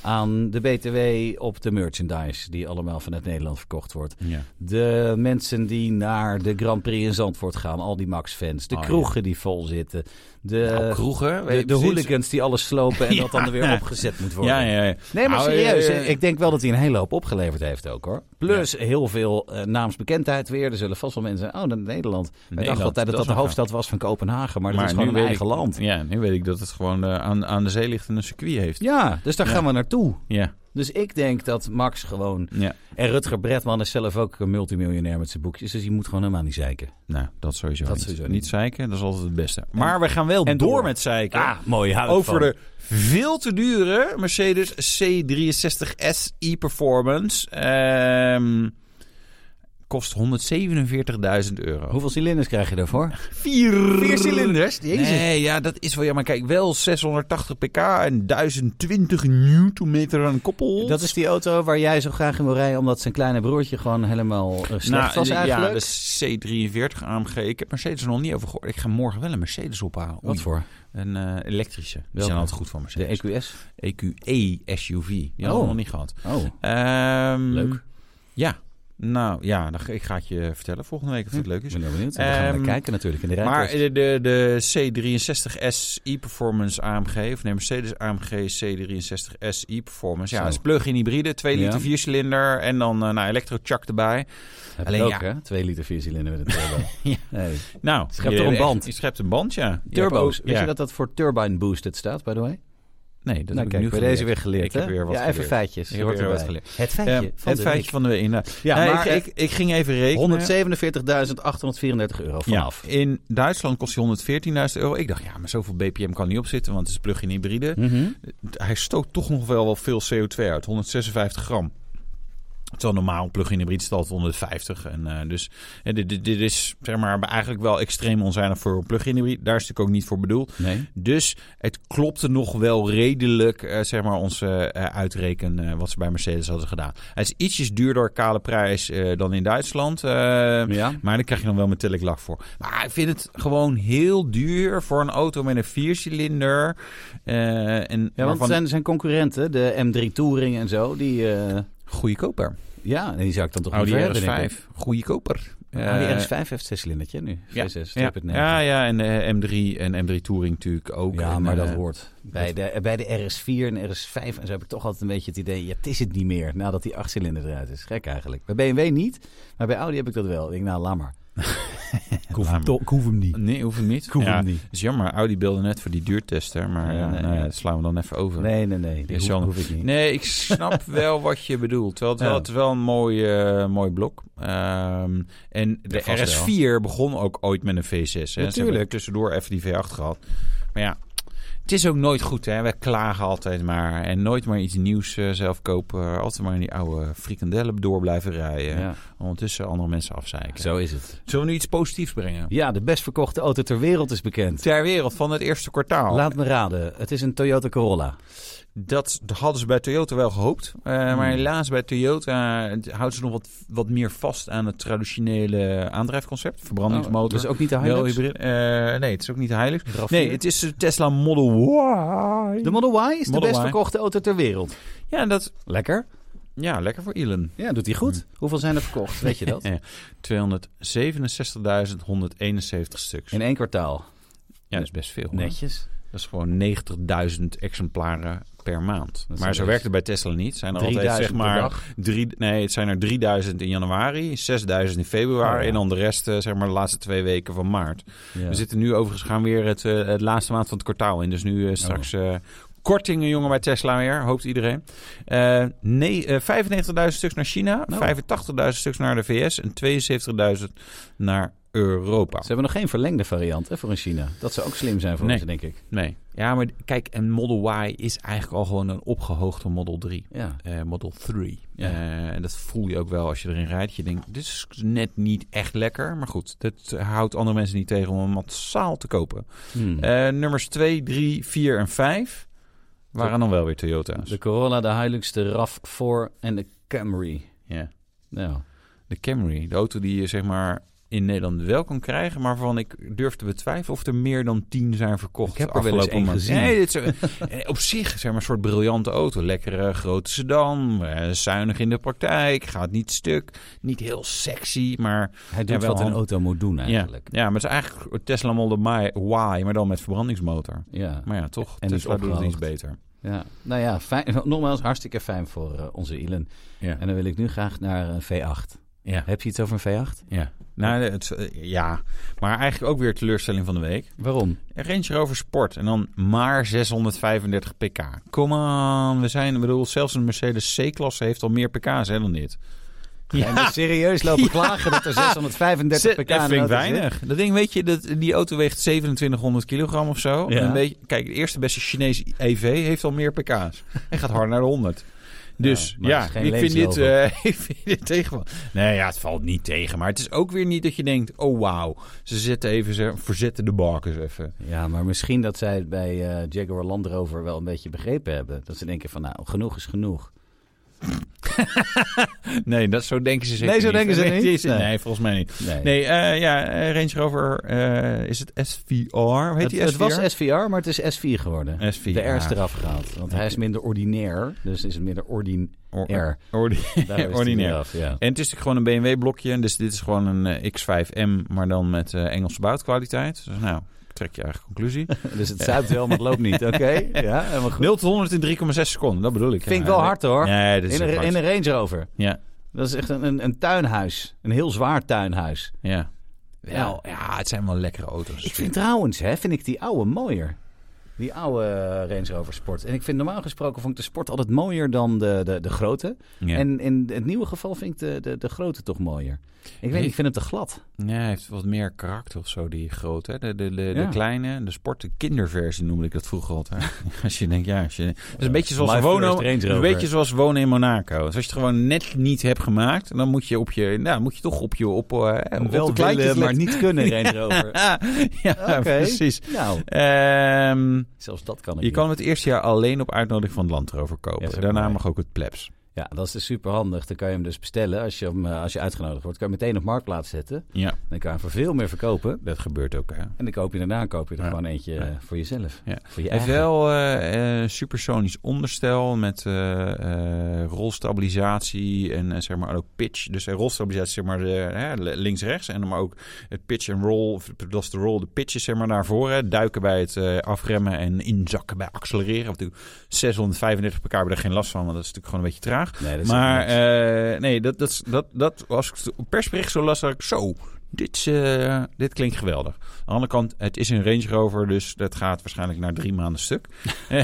[SPEAKER 2] Aan de BTW op de merchandise die allemaal vanuit Nederland verkocht wordt.
[SPEAKER 1] Ja.
[SPEAKER 2] De mensen die naar de Grand Prix in Zandvoort gaan, al die Max-fans. De
[SPEAKER 1] Oh, ja.
[SPEAKER 2] kroegen die vol zitten. De,
[SPEAKER 1] Nou, kroegen.
[SPEAKER 2] de,
[SPEAKER 1] weet
[SPEAKER 2] de
[SPEAKER 1] je precies.
[SPEAKER 2] hooligans die alles slopen en dat dan
[SPEAKER 1] Ja.
[SPEAKER 2] er weer opgezet moet worden.
[SPEAKER 1] Ja, ja, ja.
[SPEAKER 2] Nee, maar
[SPEAKER 1] Nou,
[SPEAKER 2] serieus.
[SPEAKER 1] eh,
[SPEAKER 2] hè. ik denk wel dat hij een hele hoop opgeleverd heeft ook, hoor. Plus heel veel eh, naamsbekendheid weer. Er zullen vast wel mensen zijn. Oh, naar Nederland. Wij
[SPEAKER 1] Nederland,
[SPEAKER 2] dachten altijd dat
[SPEAKER 1] dat is
[SPEAKER 2] dat, de
[SPEAKER 1] nog
[SPEAKER 2] hoofdstad was van Kopenhagen. Maar, dat
[SPEAKER 1] maar
[SPEAKER 2] is
[SPEAKER 1] nu
[SPEAKER 2] gewoon een
[SPEAKER 1] weet
[SPEAKER 2] eigen
[SPEAKER 1] ik,
[SPEAKER 2] land.
[SPEAKER 1] Ja, nu weet ik dat het gewoon eh, aan, aan de zee ligt en een circuit heeft. Ja,
[SPEAKER 2] Ja, dus daar
[SPEAKER 1] Ja.
[SPEAKER 2] gaan we naartoe.
[SPEAKER 1] ja.
[SPEAKER 2] Dus ik denk dat Max gewoon... En Rutger Bretman is zelf ook een multimiljonair met zijn boekjes. Dus die moet gewoon helemaal niet zeiken.
[SPEAKER 1] nou, dat sowieso
[SPEAKER 2] Dat
[SPEAKER 1] niet.
[SPEAKER 2] sowieso niet.
[SPEAKER 1] niet zeiken, dat is altijd het beste. Maar we gaan wel
[SPEAKER 2] en
[SPEAKER 1] door,
[SPEAKER 2] door. Ah.
[SPEAKER 1] met zeiken.
[SPEAKER 2] Ja, mooi. hou ik
[SPEAKER 1] Ah, over
[SPEAKER 2] van.
[SPEAKER 1] de veel te dure Mercedes C63 SI Performance. Ehm, kost 147.000 euro.
[SPEAKER 2] Hoeveel cilinders krijg je daarvoor?
[SPEAKER 1] Vier.
[SPEAKER 2] Vier cilinders? Jezus.
[SPEAKER 1] Nee, ja, dat is wel jammer. Kijk, wel 680 pk en 1020 newtonmeter aan koppel.
[SPEAKER 2] Dat is die auto waar jij zo graag in wil rijden... omdat zijn kleine broertje gewoon helemaal eh, slecht was eigenlijk.
[SPEAKER 1] Nou, Ja, dus- de C43 AMG. Ik heb Mercedes er nog niet over gehoord. Ik ga morgen wel een Mercedes ophalen.
[SPEAKER 2] Wat
[SPEAKER 1] Oei.
[SPEAKER 2] voor?
[SPEAKER 1] Een eh, elektrische. Die
[SPEAKER 2] Welke?
[SPEAKER 1] zijn altijd goed voor
[SPEAKER 2] De E
[SPEAKER 1] Mercedes.
[SPEAKER 2] EQS?
[SPEAKER 1] EQE SUV. Die hadden
[SPEAKER 2] Oh.
[SPEAKER 1] we nog niet gehad.
[SPEAKER 2] Oh.
[SPEAKER 1] Ehm,
[SPEAKER 2] Leuk.
[SPEAKER 1] Ja. Nou ja, dan, ga- ik ga het je vertellen volgende week of het leuk
[SPEAKER 2] Ik
[SPEAKER 1] is.
[SPEAKER 2] ben heel benieuwd. We gaan
[SPEAKER 1] Ehm,
[SPEAKER 2] naar kijken natuurlijk in de
[SPEAKER 1] Maar
[SPEAKER 2] rijtest.
[SPEAKER 1] de, de, de C63 S e-Performance AMG, of nee, Mercedes AMG C63 S e-Performance. Ja,
[SPEAKER 2] Zo.
[SPEAKER 1] dat is plug-in hybride, 2 liter
[SPEAKER 2] Ja.
[SPEAKER 1] viercilinder en dan eh nou, elektrochak erbij.
[SPEAKER 2] Heb
[SPEAKER 1] alleen
[SPEAKER 2] je
[SPEAKER 1] ja.
[SPEAKER 2] ook, hè? Twee liter viercilinder met een turbo.
[SPEAKER 1] Ja.
[SPEAKER 2] Nee.
[SPEAKER 1] Nou,
[SPEAKER 2] Schept
[SPEAKER 1] je-
[SPEAKER 2] er een
[SPEAKER 1] echt-
[SPEAKER 2] band.
[SPEAKER 1] Je schept een band, ja. Je hebt ook-
[SPEAKER 2] Turbo's. Weet
[SPEAKER 1] ja.
[SPEAKER 2] je dat dat voor turbine boosted staat, by the way?
[SPEAKER 1] Nee, dat
[SPEAKER 2] nou,
[SPEAKER 1] heb ik
[SPEAKER 2] kijk,
[SPEAKER 1] nu
[SPEAKER 2] bij
[SPEAKER 1] geleerd.
[SPEAKER 2] deze weer geleerd,
[SPEAKER 1] Ik
[SPEAKER 2] hè?
[SPEAKER 1] heb weer wat
[SPEAKER 2] ja, even
[SPEAKER 1] geleerd.
[SPEAKER 2] feitjes.
[SPEAKER 1] Ik heb
[SPEAKER 2] hoort
[SPEAKER 1] weer wat
[SPEAKER 2] erbij.
[SPEAKER 1] geleerd.
[SPEAKER 2] Ehm,
[SPEAKER 1] Eh,
[SPEAKER 2] Het feitje van
[SPEAKER 1] het
[SPEAKER 2] de
[SPEAKER 1] feitje
[SPEAKER 2] week.
[SPEAKER 1] van de week. Nou,
[SPEAKER 2] Ja,
[SPEAKER 1] nee,
[SPEAKER 2] maar
[SPEAKER 1] ik, ik, ik ging even rekenen.
[SPEAKER 2] 147.834 euro
[SPEAKER 1] Ja,
[SPEAKER 2] vanaf.
[SPEAKER 1] in Duitsland kost hij 114.000 euro. Ik dacht, ja, maar zoveel BPM kan niet op zitten, want het is plug-in hybride.
[SPEAKER 2] Mhm.
[SPEAKER 1] Hij stoot toch nog wel, wel veel CO2 uit, 156 gram. Terwijl normaal een plug-in hybride staat 150. En, eh, dus eh, dit, dit, dit is zeg maar, eigenlijk wel extreem onzuinig voor een plug-in hybride. Daar is het natuurlijk ook niet voor bedoeld.
[SPEAKER 2] Nee.
[SPEAKER 1] Dus het klopte nog wel redelijk, eh, zeg maar, onze eh, uitreken eh, wat ze bij Mercedes hadden gedaan. Hij is ietsjes duurder kale prijs eh, dan in Duitsland. eh,
[SPEAKER 2] Ja.
[SPEAKER 1] maar daar krijg je dan wel metallic lak voor. Maar ik vind het gewoon heel duur voor een auto met een viercilinder. eh en
[SPEAKER 2] Ja, want
[SPEAKER 1] waarvan-
[SPEAKER 2] zijn, zijn concurrenten, de M3 Touring en zo, die... eh,
[SPEAKER 1] goedkoper.
[SPEAKER 2] ja, die zou ik dan toch
[SPEAKER 1] Audi
[SPEAKER 2] niet voor hebben, denk ik.
[SPEAKER 1] RS5, goedkoper.
[SPEAKER 2] Audi
[SPEAKER 1] Eh,
[SPEAKER 2] RS5 heeft zes cilindertje nu.
[SPEAKER 1] ja,
[SPEAKER 2] V6,
[SPEAKER 1] ja,
[SPEAKER 2] 2.9.
[SPEAKER 1] ja, ja, en de M3 en M3 Touring natuurlijk ook.
[SPEAKER 2] Ja,
[SPEAKER 1] En,
[SPEAKER 2] maar dat
[SPEAKER 1] eh,
[SPEAKER 2] hoort. Bij de, bij de RS4 en RS5 en zo heb ik toch altijd een beetje het idee... ja, het is het niet meer nadat die achtcilinder eruit is. Gek eigenlijk. Bij BMW niet, maar bij Audi heb ik dat wel. Ik denk, nou, laat maar.
[SPEAKER 1] ik hoef hem-
[SPEAKER 2] ik hoef hem niet.
[SPEAKER 1] Nee, hoeft hem niet.
[SPEAKER 2] Ik hoef
[SPEAKER 1] ja,
[SPEAKER 2] hem niet.
[SPEAKER 1] is jammer, Audi beelde net voor die duurtester, maar
[SPEAKER 2] Ja,
[SPEAKER 1] ja,
[SPEAKER 2] nee,
[SPEAKER 1] nou ja,
[SPEAKER 2] ja.
[SPEAKER 1] dat slaan we dan even over.
[SPEAKER 2] Nee, nee, nee. Die
[SPEAKER 1] Is
[SPEAKER 2] hoef,
[SPEAKER 1] wel-
[SPEAKER 2] hoef ik niet.
[SPEAKER 1] Nee, ik snap wel wat je bedoelt. Terwijl het,
[SPEAKER 2] Ja.
[SPEAKER 1] wel, het is wel een mooi, eh, mooi blok. Ehm, en de
[SPEAKER 2] vast
[SPEAKER 1] RS4 begon ook ooit met een V6. Hè. Ze hebben
[SPEAKER 2] Natuurlijk.
[SPEAKER 1] tussendoor even die V8 gehad. Maar ja, het is ook nooit goed. Hè. Wij klagen altijd maar. En nooit maar iets nieuws eh, zelf kopen. Altijd maar in die oude frikandellen door blijven rijden.
[SPEAKER 2] Ja,
[SPEAKER 1] Ondertussen andere mensen afzeiken.
[SPEAKER 2] zo is het.
[SPEAKER 1] Zullen we nu iets positiefs brengen?
[SPEAKER 2] Ja, de best verkochte auto ter wereld is bekend.
[SPEAKER 1] Ter wereld van het eerste kwartaal.
[SPEAKER 2] Laat me raden. Het is een Toyota Corolla.
[SPEAKER 1] Dat hadden ze bij Toyota wel gehoopt. Eh, Maar
[SPEAKER 2] Hmm.
[SPEAKER 1] helaas bij Toyota eh, houdt ze nog wat, wat meer vast aan het traditionele aandrijfconcept. Verbrandingsmotor.
[SPEAKER 2] Dus ook niet de
[SPEAKER 1] wel
[SPEAKER 2] Hilux?
[SPEAKER 1] hybride. Eh, nee, het is ook niet heilig.
[SPEAKER 2] RAV4?
[SPEAKER 1] Nee, het is de Tesla Model Y.
[SPEAKER 2] De Model Y is de
[SPEAKER 1] Model
[SPEAKER 2] best
[SPEAKER 1] Y.
[SPEAKER 2] verkochte auto ter wereld.
[SPEAKER 1] Ja, dat,
[SPEAKER 2] Lekker. Mm.
[SPEAKER 1] ja, lekker voor Elon.
[SPEAKER 2] Ja, doet hij goed. Hoeveel zijn er verkocht? Weet je dat?
[SPEAKER 1] Ja. 267.171 stuks.
[SPEAKER 2] In één kwartaal.
[SPEAKER 1] ja, dat is best veel. hoor.
[SPEAKER 2] Netjes.
[SPEAKER 1] Dat is gewoon 90.000 exemplaren per maand.
[SPEAKER 2] is
[SPEAKER 1] Maar zo
[SPEAKER 2] best.
[SPEAKER 1] werkt het bij Tesla niet. Zijn er altijd
[SPEAKER 2] 3000
[SPEAKER 1] zeg
[SPEAKER 2] per
[SPEAKER 1] maar
[SPEAKER 2] dag.
[SPEAKER 1] drie, nee, het zijn er 3000 in januari, 6000 in februari
[SPEAKER 2] Oh ja.
[SPEAKER 1] en dan de rest eh, zeg maar de laatste twee weken van maart.
[SPEAKER 2] Ja.
[SPEAKER 1] We zitten nu overigens gaan weer het, eh, het laatste maand van het kwartaal in. Dus nu
[SPEAKER 2] Oh.
[SPEAKER 1] eh, straks eh, kortingen jongen bij Tesla weer, hoopt iedereen. Eh, nee, eh, 95.000 stuks naar China,
[SPEAKER 2] Nou.
[SPEAKER 1] 85.000 stuks naar de VS en 72.000 naar Europa.
[SPEAKER 2] Ze hebben nog geen verlengde variant hè, voor in China. Dat zou ook slim zijn voor
[SPEAKER 1] Nee.
[SPEAKER 2] ons, denk ik.
[SPEAKER 1] Nee. Ja, maar kijk, en Model Y is eigenlijk al gewoon een opgehoogde Model 3.
[SPEAKER 2] Ja.
[SPEAKER 1] eh, Model 3.
[SPEAKER 2] Ja.
[SPEAKER 1] Eh, en dat voel je ook wel als je erin rijdt. Je denkt, dit is net niet echt lekker. Maar goed, dat houdt andere mensen niet tegen om hem massaal te kopen.
[SPEAKER 2] Hmm.
[SPEAKER 1] Eh, nummers 2, 3, 4 en 5 waren dan wel weer Toyota's.
[SPEAKER 2] de Corolla, de Hilux, de RAV4 en de Camry.
[SPEAKER 1] ja.
[SPEAKER 2] Nou,
[SPEAKER 1] De Camry, de auto die je zeg maar in Nederland wel kan krijgen, maar waarvan ik durf te betwijfelen of er meer dan tien zijn verkocht.
[SPEAKER 2] Ik heb er wel eens
[SPEAKER 1] afgelopen
[SPEAKER 2] één
[SPEAKER 1] maand.
[SPEAKER 2] gezien.
[SPEAKER 1] Nee, dit is, eh, op zich zeg maar een soort briljante auto. Lekkere grote sedan, eh, zuinig in de praktijk, gaat niet stuk, niet heel sexy, maar
[SPEAKER 2] hij
[SPEAKER 1] Ja,
[SPEAKER 2] doet
[SPEAKER 1] wel
[SPEAKER 2] wat een
[SPEAKER 1] handig.
[SPEAKER 2] auto moet doen eigenlijk.
[SPEAKER 1] ja, ja, maar het is eigenlijk een Tesla Model Y, Y, maar dan met verbrandingsmotor.
[SPEAKER 2] Ja.
[SPEAKER 1] Maar ja, toch.
[SPEAKER 2] En
[SPEAKER 1] Tesla
[SPEAKER 2] niet
[SPEAKER 1] doet het iets
[SPEAKER 2] opgehoogd.
[SPEAKER 1] beter.
[SPEAKER 2] ja. Nou ja, fijn, nogmaals hartstikke fijn voor eh, onze Ilan.
[SPEAKER 1] Ja.
[SPEAKER 2] En dan wil ik nu graag naar een V8.
[SPEAKER 1] Ja.
[SPEAKER 2] Heb je iets over een V8?
[SPEAKER 1] Ja. Nou, het, eh, ja, maar eigenlijk ook weer teleurstelling van de week.
[SPEAKER 2] Waarom?
[SPEAKER 1] Range Rover Sport en dan maar 635 pk. Kom aan, we zijn, ik bedoel, zelfs een Mercedes C-klasse heeft al meer pk's hè, dan dit.
[SPEAKER 2] Ja. En dus serieus lopen klagen dat er 635 pk
[SPEAKER 1] Dat
[SPEAKER 2] aan
[SPEAKER 1] vind ik
[SPEAKER 2] auto zit?
[SPEAKER 1] weinig. Dat ding, weet je, dat, die auto weegt 2700 kilogram of zo.
[SPEAKER 2] Ja.
[SPEAKER 1] En een beetje, kijk, de eerste beste Chinees EV heeft al meer pk's. En gaat hard naar de 100. Dus
[SPEAKER 2] Ja, maar
[SPEAKER 1] ja,
[SPEAKER 2] het is geen
[SPEAKER 1] ik, vind dit,
[SPEAKER 2] levenslogo.
[SPEAKER 1] eh, ik vind dit tegenval. Nee, ja, het valt niet tegen. Maar het is ook weer niet dat je denkt, oh wauw. Ze zetten even, ze verzetten de bakens even.
[SPEAKER 2] Ja, maar misschien dat zij het bij eh, Jaguar Land Rover wel een beetje begrepen hebben. Dat ze denken van, nou, genoeg is genoeg.
[SPEAKER 1] Nee, dat, zo denken ze zeker
[SPEAKER 2] Nee, zo
[SPEAKER 1] niet.
[SPEAKER 2] denken ze
[SPEAKER 1] Nee,
[SPEAKER 2] niet.
[SPEAKER 1] Nee.
[SPEAKER 2] Nee.
[SPEAKER 1] volgens mij niet.
[SPEAKER 2] Nee.
[SPEAKER 1] Nee, eh, ja, eh, Range Rover, eh, is het SVR? Hoe Heet
[SPEAKER 2] Het,
[SPEAKER 1] die
[SPEAKER 2] het
[SPEAKER 1] SVR?
[SPEAKER 2] was SVR, maar het is S4 geworden.
[SPEAKER 1] SVR.
[SPEAKER 2] De R is eraf gehaald. Want hij is minder ordinair. Dus is het minder ordinair.
[SPEAKER 1] Or-
[SPEAKER 2] R.
[SPEAKER 1] ordi-
[SPEAKER 2] Daar is het
[SPEAKER 1] ordinair.
[SPEAKER 2] weer af, ja.
[SPEAKER 1] En het is gewoon een BMW-blokje. Dus dit is gewoon een eh, X5M, maar dan met eh, Engelse bouwkwaliteit. Dus nou, trek je eigen conclusie.
[SPEAKER 2] Dus het zuipt wel, maar het loopt niet. Oké, ja, helemaal goed.
[SPEAKER 1] 0 tot 100 in 3,6 seconden, dat bedoel ik.
[SPEAKER 2] Vind
[SPEAKER 1] Ja,
[SPEAKER 2] ik wel
[SPEAKER 1] nee.
[SPEAKER 2] hard hoor.
[SPEAKER 1] Nee, dat is
[SPEAKER 2] In een,
[SPEAKER 1] ook hard.
[SPEAKER 2] in een Range Rover.
[SPEAKER 1] Ja,
[SPEAKER 2] Dat is echt een, een, een tuinhuis. Een heel zwaar tuinhuis.
[SPEAKER 1] ja. Wel, ja, het zijn wel lekkere auto's.
[SPEAKER 2] Ik vind trouwens, hè, vind ik die oude mooier. Die oude eh, Range Rover Sport. En ik vind normaal gesproken vond ik de Sport altijd mooier dan de, de, de grote.
[SPEAKER 1] Ja.
[SPEAKER 2] En in het nieuwe geval vind ik de, de, de grote toch mooier. Ik weet
[SPEAKER 1] Nee.
[SPEAKER 2] niet, ik vind hem te glad.
[SPEAKER 1] Ja, hij heeft wat meer karakter of zo, die grote. De, de, de, de
[SPEAKER 2] Ja.
[SPEAKER 1] kleine, de sport, de kinderversie noemde ik dat vroeger altijd. als je denkt, ja, als je... Het is een beetje zoals,
[SPEAKER 2] my
[SPEAKER 1] wonen,
[SPEAKER 2] first Range
[SPEAKER 1] het is een
[SPEAKER 2] Rover.
[SPEAKER 1] beetje zoals wonen in Monaco. Dus als je het gewoon net niet hebt gemaakt, dan moet je, op je, nou, moet je toch op je op, eh, op de kleintjes
[SPEAKER 2] maar
[SPEAKER 1] letten.
[SPEAKER 2] niet kunnen Range Rover.
[SPEAKER 1] ja,
[SPEAKER 2] Oké.
[SPEAKER 1] precies.
[SPEAKER 2] Nou,
[SPEAKER 1] Ehm,
[SPEAKER 2] zelfs dat kan ik
[SPEAKER 1] je
[SPEAKER 2] niet.
[SPEAKER 1] kan het eerste jaar alleen op uitnodiging van het Land Rover
[SPEAKER 2] Ja,
[SPEAKER 1] kopen.
[SPEAKER 2] dat is ook
[SPEAKER 1] Daarna
[SPEAKER 2] mooi.
[SPEAKER 1] mag ook het plebs.
[SPEAKER 2] Ja, dat is dus super handig. Dan kan je hem dus bestellen als je, hem, eh, als je uitgenodigd wordt. Kan je hem meteen op marktplaats zetten.
[SPEAKER 1] Ja,
[SPEAKER 2] Dan kan je hem voor veel meer verkopen.
[SPEAKER 1] dat gebeurt ook, hè.
[SPEAKER 2] En dan koop je daarna koop je er
[SPEAKER 1] Ja.
[SPEAKER 2] gewoon eentje eh, voor jezelf.
[SPEAKER 1] Ja.
[SPEAKER 2] Voor je
[SPEAKER 1] Hij heeft
[SPEAKER 2] eigen.
[SPEAKER 1] wel eh, eh, supersonisch onderstel met eh, eh, rolstabilisatie en eh, zeg maar ook pitch. Dus eh, rolstabilisatie zeg maar eh, hè, le- links-rechts. En dan maar ook het pitch en roll, of dat is de roll, de pitches zeg maar naar voren. Duiken bij het eh, afremmen en inzakken bij accelereren. Of natuurlijk 635 pk hebben we er geen last van, want dat is natuurlijk gewoon een beetje traag.
[SPEAKER 2] Nee, dat is
[SPEAKER 1] maar
[SPEAKER 2] echt niks.
[SPEAKER 1] eh, nee, dat, dat, is- dat, dat, als ik het op persbericht zo las, dacht ik zo... Dit, is, eh, dit klinkt geweldig. Aan de andere kant, het is een Range Rover, dus dat gaat waarschijnlijk naar drie maanden stuk.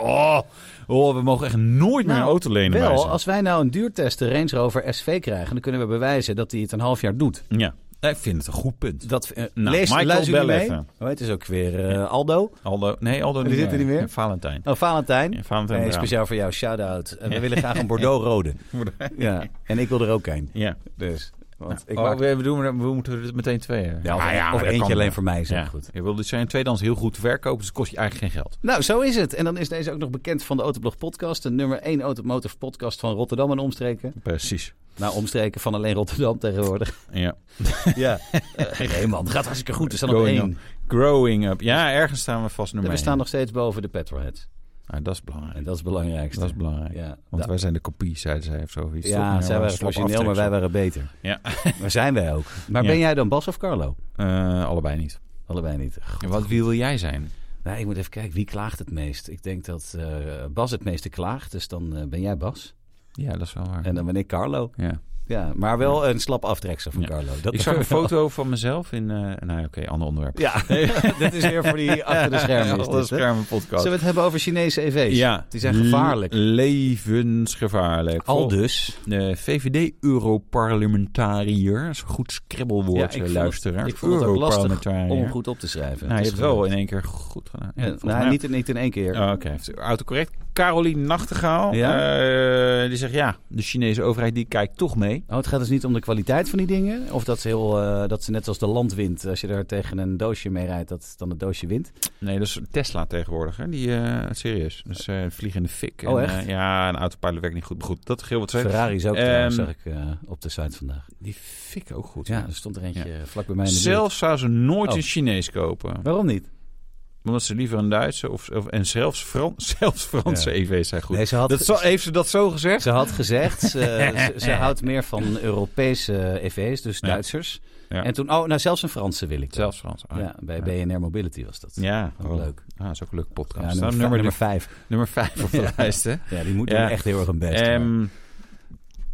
[SPEAKER 1] oh, oh, we mogen echt nooit meer een
[SPEAKER 2] Nou,
[SPEAKER 1] auto lenen bij ze.
[SPEAKER 2] wel, als wij nou een duurtest de Range Rover SV krijgen, dan kunnen we bewijzen dat hij het een half jaar doet.
[SPEAKER 1] Ja, ik vind het een goed punt.
[SPEAKER 2] Dat, eh,
[SPEAKER 1] Nou,
[SPEAKER 2] lees,
[SPEAKER 1] Michael,
[SPEAKER 2] luister jullie
[SPEAKER 1] bel
[SPEAKER 2] mee?
[SPEAKER 1] even.
[SPEAKER 2] Hoe heet het ook weer? eh, Aldo?
[SPEAKER 1] Aldo, nee, Aldo
[SPEAKER 2] Die zit er niet meer?
[SPEAKER 1] Ja, Valentijn.
[SPEAKER 2] Oh, Valentijn.
[SPEAKER 1] Ja, Valentijn
[SPEAKER 2] Hey,
[SPEAKER 1] Braam.
[SPEAKER 2] speciaal voor jou, shout-out. En we willen graag een Bordeaux rode. Ja, en ik wil er ook een.
[SPEAKER 1] Ja.
[SPEAKER 2] Dus, want ik
[SPEAKER 1] oh,
[SPEAKER 2] maak...
[SPEAKER 1] we, we doen, we moeten er meteen twee. hebben.
[SPEAKER 2] Ja, of,
[SPEAKER 1] Ah ja,
[SPEAKER 2] of
[SPEAKER 1] dat
[SPEAKER 2] eentje
[SPEAKER 1] kan
[SPEAKER 2] alleen
[SPEAKER 1] wel.
[SPEAKER 2] voor mij is ook
[SPEAKER 1] Ja.
[SPEAKER 2] goed.
[SPEAKER 1] Je wil dus zijn tweedehands heel goed verkopen, dus kost je eigenlijk geen geld.
[SPEAKER 2] Nou, zo is het. En dan is deze ook nog bekend van de Autoblog podcast. De nummer 1 Automotive podcast van Rotterdam en omstreken.
[SPEAKER 1] Precies.
[SPEAKER 2] Nou, omstreken van alleen Rotterdam tegenwoordig.
[SPEAKER 1] Ja.
[SPEAKER 2] Ja. nee man, het gaat hartstikke goed. We staan op
[SPEAKER 1] Going
[SPEAKER 2] één.
[SPEAKER 1] up. Growing up. Ja, ergens staan we vast nummer
[SPEAKER 2] We
[SPEAKER 1] één.
[SPEAKER 2] staan nog steeds boven de petrolheads.
[SPEAKER 1] Ah, dat is belangrijk.
[SPEAKER 2] En dat is het belangrijkste.
[SPEAKER 1] Dat is belangrijk.
[SPEAKER 2] Ja,
[SPEAKER 1] Want
[SPEAKER 2] Da-
[SPEAKER 1] wij zijn de kopie, zeiden zij of zoiets. Toch?
[SPEAKER 2] ja zij
[SPEAKER 1] we
[SPEAKER 2] waren
[SPEAKER 1] slap
[SPEAKER 2] origineel, maar wij
[SPEAKER 1] aftreksel.
[SPEAKER 2] waren beter.
[SPEAKER 1] Ja.
[SPEAKER 2] Maar zijn wij ook. Maar
[SPEAKER 1] Ja.
[SPEAKER 2] ben jij dan Bas of Carlo?
[SPEAKER 1] Eh, allebei niet.
[SPEAKER 2] Allebei niet. Goh,
[SPEAKER 1] Wat, wie wil jij zijn?
[SPEAKER 2] Nou, ik moet even kijken, wie klaagt het meest? Ik denk dat eh, Bas het meeste klaagt, dus dan eh, ben jij Bas.
[SPEAKER 1] Ja, dat is wel waar.
[SPEAKER 2] En dan ben ik Carlo.
[SPEAKER 1] ja.
[SPEAKER 2] Ja, maar wel een slap aftreksel van
[SPEAKER 1] Ja.
[SPEAKER 2] Carlo. Dat
[SPEAKER 1] Ik zag een foto van mezelf in... eh nou, oké, ander onderwerp.
[SPEAKER 2] Ja, dit is weer voor die achter de schermen. Is
[SPEAKER 1] Achter de
[SPEAKER 2] dit, hè?
[SPEAKER 1] schermen podcast.
[SPEAKER 2] Zullen we het hebben over Chinese E EV's?
[SPEAKER 1] Ja.
[SPEAKER 2] Die zijn gevaarlijk.
[SPEAKER 1] Le- levensgevaarlijk. eh,
[SPEAKER 2] Al
[SPEAKER 1] Vol-
[SPEAKER 2] dus.
[SPEAKER 1] De VVD-europarlementariër. Dat is een goed scribbelwoord, eh, luisteraar.
[SPEAKER 2] ik vond het ook lastig
[SPEAKER 1] Europarlementariër.
[SPEAKER 2] om goed op te schrijven.
[SPEAKER 1] Nou, je
[SPEAKER 2] is
[SPEAKER 1] hebt het wel
[SPEAKER 2] gelukt.
[SPEAKER 1] in één keer goed gedaan. Ja,
[SPEAKER 2] Eh,
[SPEAKER 1] volgens
[SPEAKER 2] nou,
[SPEAKER 1] mij-
[SPEAKER 2] niet, in- niet in één keer.
[SPEAKER 1] Oh, Oké, heeft- autocorrect. Caroline Nachtegaal,
[SPEAKER 2] Ja?
[SPEAKER 1] eh, die zegt ja, de Chinese overheid die kijkt toch mee.
[SPEAKER 2] Oh, het gaat dus niet om de kwaliteit van die dingen. Of dat ze, heel, eh, dat ze net als de landwind, als je daar tegen een doosje mee rijdt, dat dan het doosje wint.
[SPEAKER 1] Nee, dat is Tesla tegenwoordig, hè? Die, eh, serieus. Dus eh vliegen in de fik.
[SPEAKER 2] Oh,
[SPEAKER 1] en,
[SPEAKER 2] echt?
[SPEAKER 1] eh, ja, een autopilot werkt niet goed. Maar goed, dat geheel wat ze
[SPEAKER 2] Ferrari's ook,
[SPEAKER 1] Ehm,
[SPEAKER 2] trouwens, zag ik eh, op de site vandaag.
[SPEAKER 1] Die fik ook goed.
[SPEAKER 2] Ja, er stond er eentje vlak bij mij in de buurt.
[SPEAKER 1] Zelf zou ze nooit
[SPEAKER 2] Oh.
[SPEAKER 1] een Chinees kopen.
[SPEAKER 2] Waarom niet?
[SPEAKER 1] Omdat ze liever een Duitse of, of en zelfs, Fran, zelfs Franse
[SPEAKER 2] Ja.
[SPEAKER 1] EV's zijn goed.
[SPEAKER 2] Nee, ze had,
[SPEAKER 1] dat, zo- heeft ze dat zo gezegd?
[SPEAKER 2] Ze had gezegd, ze, ze- ze houdt meer van Europese EV's, dus
[SPEAKER 1] Ja.
[SPEAKER 2] Duitsers.
[SPEAKER 1] Ja.
[SPEAKER 2] En toen, oh, nou zelfs een Franse wil ik.
[SPEAKER 1] Zelfs Frans. Ah,
[SPEAKER 2] Ja, bij
[SPEAKER 1] ja.
[SPEAKER 2] BNR Mobility was dat.
[SPEAKER 1] Ja,
[SPEAKER 2] Ook
[SPEAKER 1] oh.
[SPEAKER 2] leuk.
[SPEAKER 1] Ah, dat is ook een leuk
[SPEAKER 2] Ja,
[SPEAKER 1] podcast.
[SPEAKER 2] nummer,
[SPEAKER 1] Nou,
[SPEAKER 2] nummer,
[SPEAKER 1] nummer, nummer,
[SPEAKER 2] vijf.
[SPEAKER 1] vijf op de
[SPEAKER 2] Ja.
[SPEAKER 1] lijst, hè?
[SPEAKER 2] Ja, die moet
[SPEAKER 1] Ja.
[SPEAKER 2] doen echt heel erg hun best. hoor.
[SPEAKER 1] Ehm,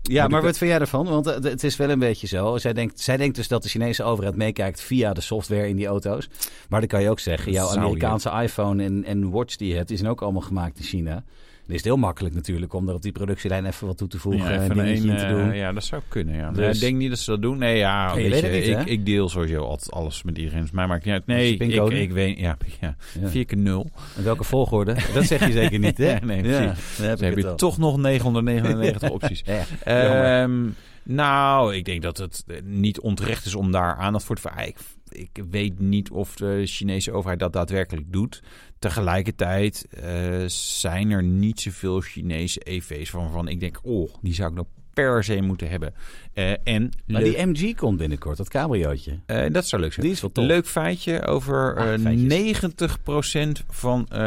[SPEAKER 2] ja, maar wat vind jij ervan? Want eh, het is wel een beetje zo. Zij denkt, zij denkt dus dat de Chinese overheid meekijkt via de software in die auto's. Maar dan kan je ook zeggen, jouw
[SPEAKER 1] Zou je.
[SPEAKER 2] Amerikaanse iPhone en, en watch die je hebt, die zijn ook allemaal gemaakt in China. Dan is het heel makkelijk natuurlijk om er op die productielijn even wat toe te voegen en
[SPEAKER 1] even
[SPEAKER 2] dingetje in te
[SPEAKER 1] een, eh,
[SPEAKER 2] doen.
[SPEAKER 1] ja, dat zou kunnen. Ja. Maar
[SPEAKER 2] Dus-
[SPEAKER 1] Ik denk niet dat ze dat doen. Nee, ja,
[SPEAKER 2] Nee, je
[SPEAKER 1] weet
[SPEAKER 2] weet
[SPEAKER 1] je,
[SPEAKER 2] het niet,
[SPEAKER 1] ik,
[SPEAKER 2] hè?
[SPEAKER 1] ik deel sowieso altijd alles met iedereen. Dus mij maakt niet uit. Nee,
[SPEAKER 2] je
[SPEAKER 1] ik,
[SPEAKER 2] pincode?
[SPEAKER 1] ik weet... Ja, ja.
[SPEAKER 2] Ja.
[SPEAKER 1] vier keer nul.
[SPEAKER 2] En welke volgorde? Dat zeg je zeker niet, hè?
[SPEAKER 1] Nee,
[SPEAKER 2] ja,
[SPEAKER 1] precies.
[SPEAKER 2] dan heb
[SPEAKER 1] Dan heb
[SPEAKER 2] ik het
[SPEAKER 1] je
[SPEAKER 2] al.
[SPEAKER 1] toch nog 999 opties.
[SPEAKER 2] Ja,
[SPEAKER 1] Ehm, Nou, ik denk dat het eh, niet onterecht is om daar aandacht voor te vragen. Ik, ik weet niet of de Chinese overheid dat daadwerkelijk doet. Tegelijkertijd eh, zijn er niet zoveel Chinese EV's waarvan ik denk, oh, die zou ik nou per se moeten hebben. Eh, en
[SPEAKER 2] Maar
[SPEAKER 1] leuk-
[SPEAKER 2] die MG komt binnenkort, dat cabeljootje.
[SPEAKER 1] eh, dat zou leuk zijn.
[SPEAKER 2] Die is wel tof.
[SPEAKER 1] Leuk feitje over
[SPEAKER 2] Ah,
[SPEAKER 1] eh,
[SPEAKER 2] feitjes.
[SPEAKER 1] 90% van eh,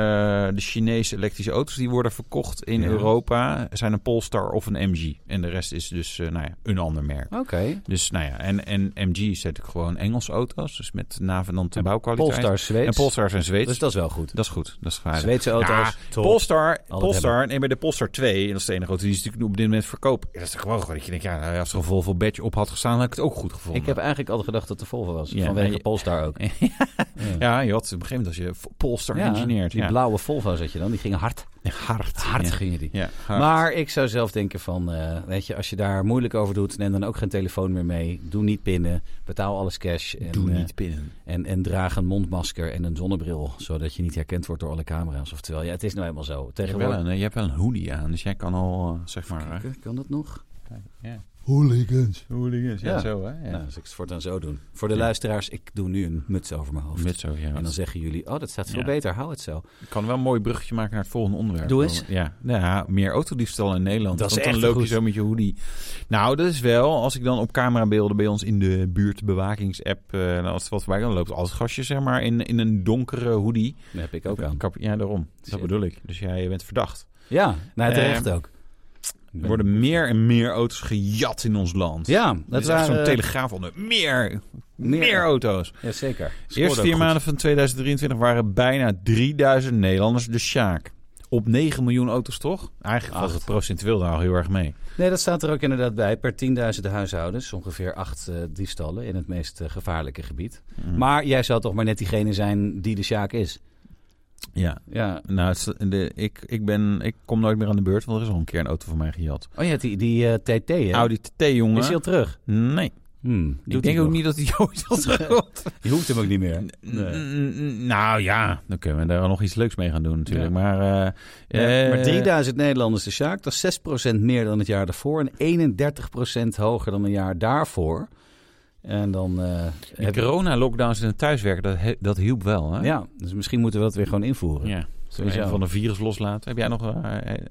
[SPEAKER 1] de Chinese elektrische auto's die worden verkocht in
[SPEAKER 2] Ja.
[SPEAKER 1] Europa zijn een Polestar of een MG. En de rest is dus eh, nou ja, een ander merk.
[SPEAKER 2] Oké.
[SPEAKER 1] Dus nou ja, en, en MG is natuurlijk gewoon Engelse auto's, dus met navenante bouwkwaliteit.
[SPEAKER 2] Polestar Zweeds.
[SPEAKER 1] En Polestar zijn Zweeds.
[SPEAKER 2] Dus dat is wel goed.
[SPEAKER 1] dat is goed, dat is veilig.
[SPEAKER 2] Zweedse auto's.
[SPEAKER 1] Ja,
[SPEAKER 2] top.
[SPEAKER 1] Polestar, Polestar nee, bij de Polestar 2, en dat is de enige auto die is natuurlijk op dit moment verkoop. Dat is toch gewoon dat je denkt, ja, nou, als er een Volvo badge op had gestaan, had ik het ook goed gevonden.
[SPEAKER 2] Ik heb eigenlijk altijd gedacht dat de Volvo was.
[SPEAKER 1] Ja,
[SPEAKER 2] vanwege
[SPEAKER 1] maar je-
[SPEAKER 2] Polestar ook.
[SPEAKER 1] Ja, je had op een gegeven moment als je Polestar engineert.
[SPEAKER 2] die
[SPEAKER 1] Ja.
[SPEAKER 2] blauwe Volvo zat je dan. Die gingen hard.
[SPEAKER 1] hard.
[SPEAKER 2] Hard
[SPEAKER 1] Ja.
[SPEAKER 2] gingen die.
[SPEAKER 1] Ja, hard.
[SPEAKER 2] Maar ik zou zelf denken van, eh, weet je, als je daar moeilijk over doet, neem dan ook geen telefoon meer mee. Doe niet pinnen. Betaal alles cash. En,
[SPEAKER 1] doe
[SPEAKER 2] eh,
[SPEAKER 1] niet binnen.
[SPEAKER 2] en, en draag een mondmasker en een zonnebril, zodat je niet herkend wordt door alle camera's. Of terwijl, ja, het is nou helemaal zo.
[SPEAKER 1] Je hebt, wel
[SPEAKER 2] Tegenwoordig...
[SPEAKER 1] een, eh, je hebt wel een hoodie aan, dus jij kan al, eh, zeg maar... eh,
[SPEAKER 2] Kan dat nog?
[SPEAKER 1] ja.
[SPEAKER 4] Hooligans.
[SPEAKER 1] Hooligans,
[SPEAKER 2] ja,
[SPEAKER 1] zo hè.
[SPEAKER 2] Nou, als ik het voortaan zo doen. Voor de luisteraars, ik doe nu een muts over mijn hoofd.
[SPEAKER 1] Met zo, ja.
[SPEAKER 2] En dan
[SPEAKER 1] want
[SPEAKER 2] zeggen jullie, oh, dat staat veel
[SPEAKER 1] Ja.
[SPEAKER 2] beter, hou het zo.
[SPEAKER 1] Ik kan wel een mooi bruggetje maken naar het volgende onderwerp.
[SPEAKER 2] Doe eens.
[SPEAKER 1] Ja, nou ja meer autodiefstal in Nederland.
[SPEAKER 2] Dat is
[SPEAKER 1] Want
[SPEAKER 2] echt
[SPEAKER 1] dan loop
[SPEAKER 2] goed.
[SPEAKER 1] je zo met je hoodie. Nou, dat is wel, als ik dan op camerabeelden bij ons in de buurtbewakingsapp, eh, nou, als het wat voorbij kan, loopt als gastje zeg maar in, in een donkere hoodie.
[SPEAKER 2] Dat heb ik ook aan.
[SPEAKER 1] Kap- ja, daarom.
[SPEAKER 2] Shit.
[SPEAKER 1] Dat bedoel ik. Dus jij bent verdacht.
[SPEAKER 2] Ja, nou, terecht
[SPEAKER 1] Eh,
[SPEAKER 2] ook. Ik
[SPEAKER 1] Er
[SPEAKER 2] ben-
[SPEAKER 1] worden meer en meer auto's gejat in ons land.
[SPEAKER 2] Ja,
[SPEAKER 1] dat
[SPEAKER 2] dat
[SPEAKER 1] is echt
[SPEAKER 2] waren...
[SPEAKER 1] zo'n telegraaf onder. Meer,
[SPEAKER 2] Meer.
[SPEAKER 1] meer, auto's.
[SPEAKER 2] Ja, zeker.
[SPEAKER 1] De eerste vier maanden van 2023 waren bijna 3000 Nederlanders de Sjaak. Op 9 miljoen auto's toch? Eigenlijk valt
[SPEAKER 2] Acht.
[SPEAKER 1] het procentueel daar al heel erg mee.
[SPEAKER 2] Nee, dat staat er ook inderdaad bij. Per 10.000 huishoudens, ongeveer acht eh, diefstallen in het meest eh, gevaarlijke gebied.
[SPEAKER 1] Mm. Hm.
[SPEAKER 2] Maar jij zou toch maar net diegene zijn die de Sjaak is.
[SPEAKER 1] Ja.
[SPEAKER 2] Ja.
[SPEAKER 1] Nou, het is- de, ik, ik, ben, ik kom nooit meer aan de beurt, want er is al een keer een auto van mij gejat.
[SPEAKER 2] Oh ja, die, die eh, TT, hè?
[SPEAKER 1] Audi TT, jongen.
[SPEAKER 2] Is hij al terug?
[SPEAKER 1] Nee.
[SPEAKER 2] Hmm,
[SPEAKER 1] ik denk ook niet dat hij ooit al terugkomt.
[SPEAKER 2] Je hoeft hem ook niet meer.
[SPEAKER 1] N- n- Nou ja, dan kunnen we daar nog iets leuks mee gaan doen natuurlijk.
[SPEAKER 2] Ja.
[SPEAKER 1] Maar, eh,
[SPEAKER 2] Ja, maar
[SPEAKER 1] eh,
[SPEAKER 2] 3000 Nederlanders de Sjaak, dat is 6% meer dan het jaar daarvoor. En 31% hoger dan een jaar daarvoor. En dan... eh,
[SPEAKER 1] Die
[SPEAKER 2] heb-
[SPEAKER 1] corona-lockdowns en het thuiswerken, dat, he- dat hielp wel, hè?
[SPEAKER 2] ja, dus misschien moeten we dat weer gewoon invoeren.
[SPEAKER 1] ja.
[SPEAKER 2] Sowieso.
[SPEAKER 1] Een van de virus loslaten. Heb jij nog eh, eh,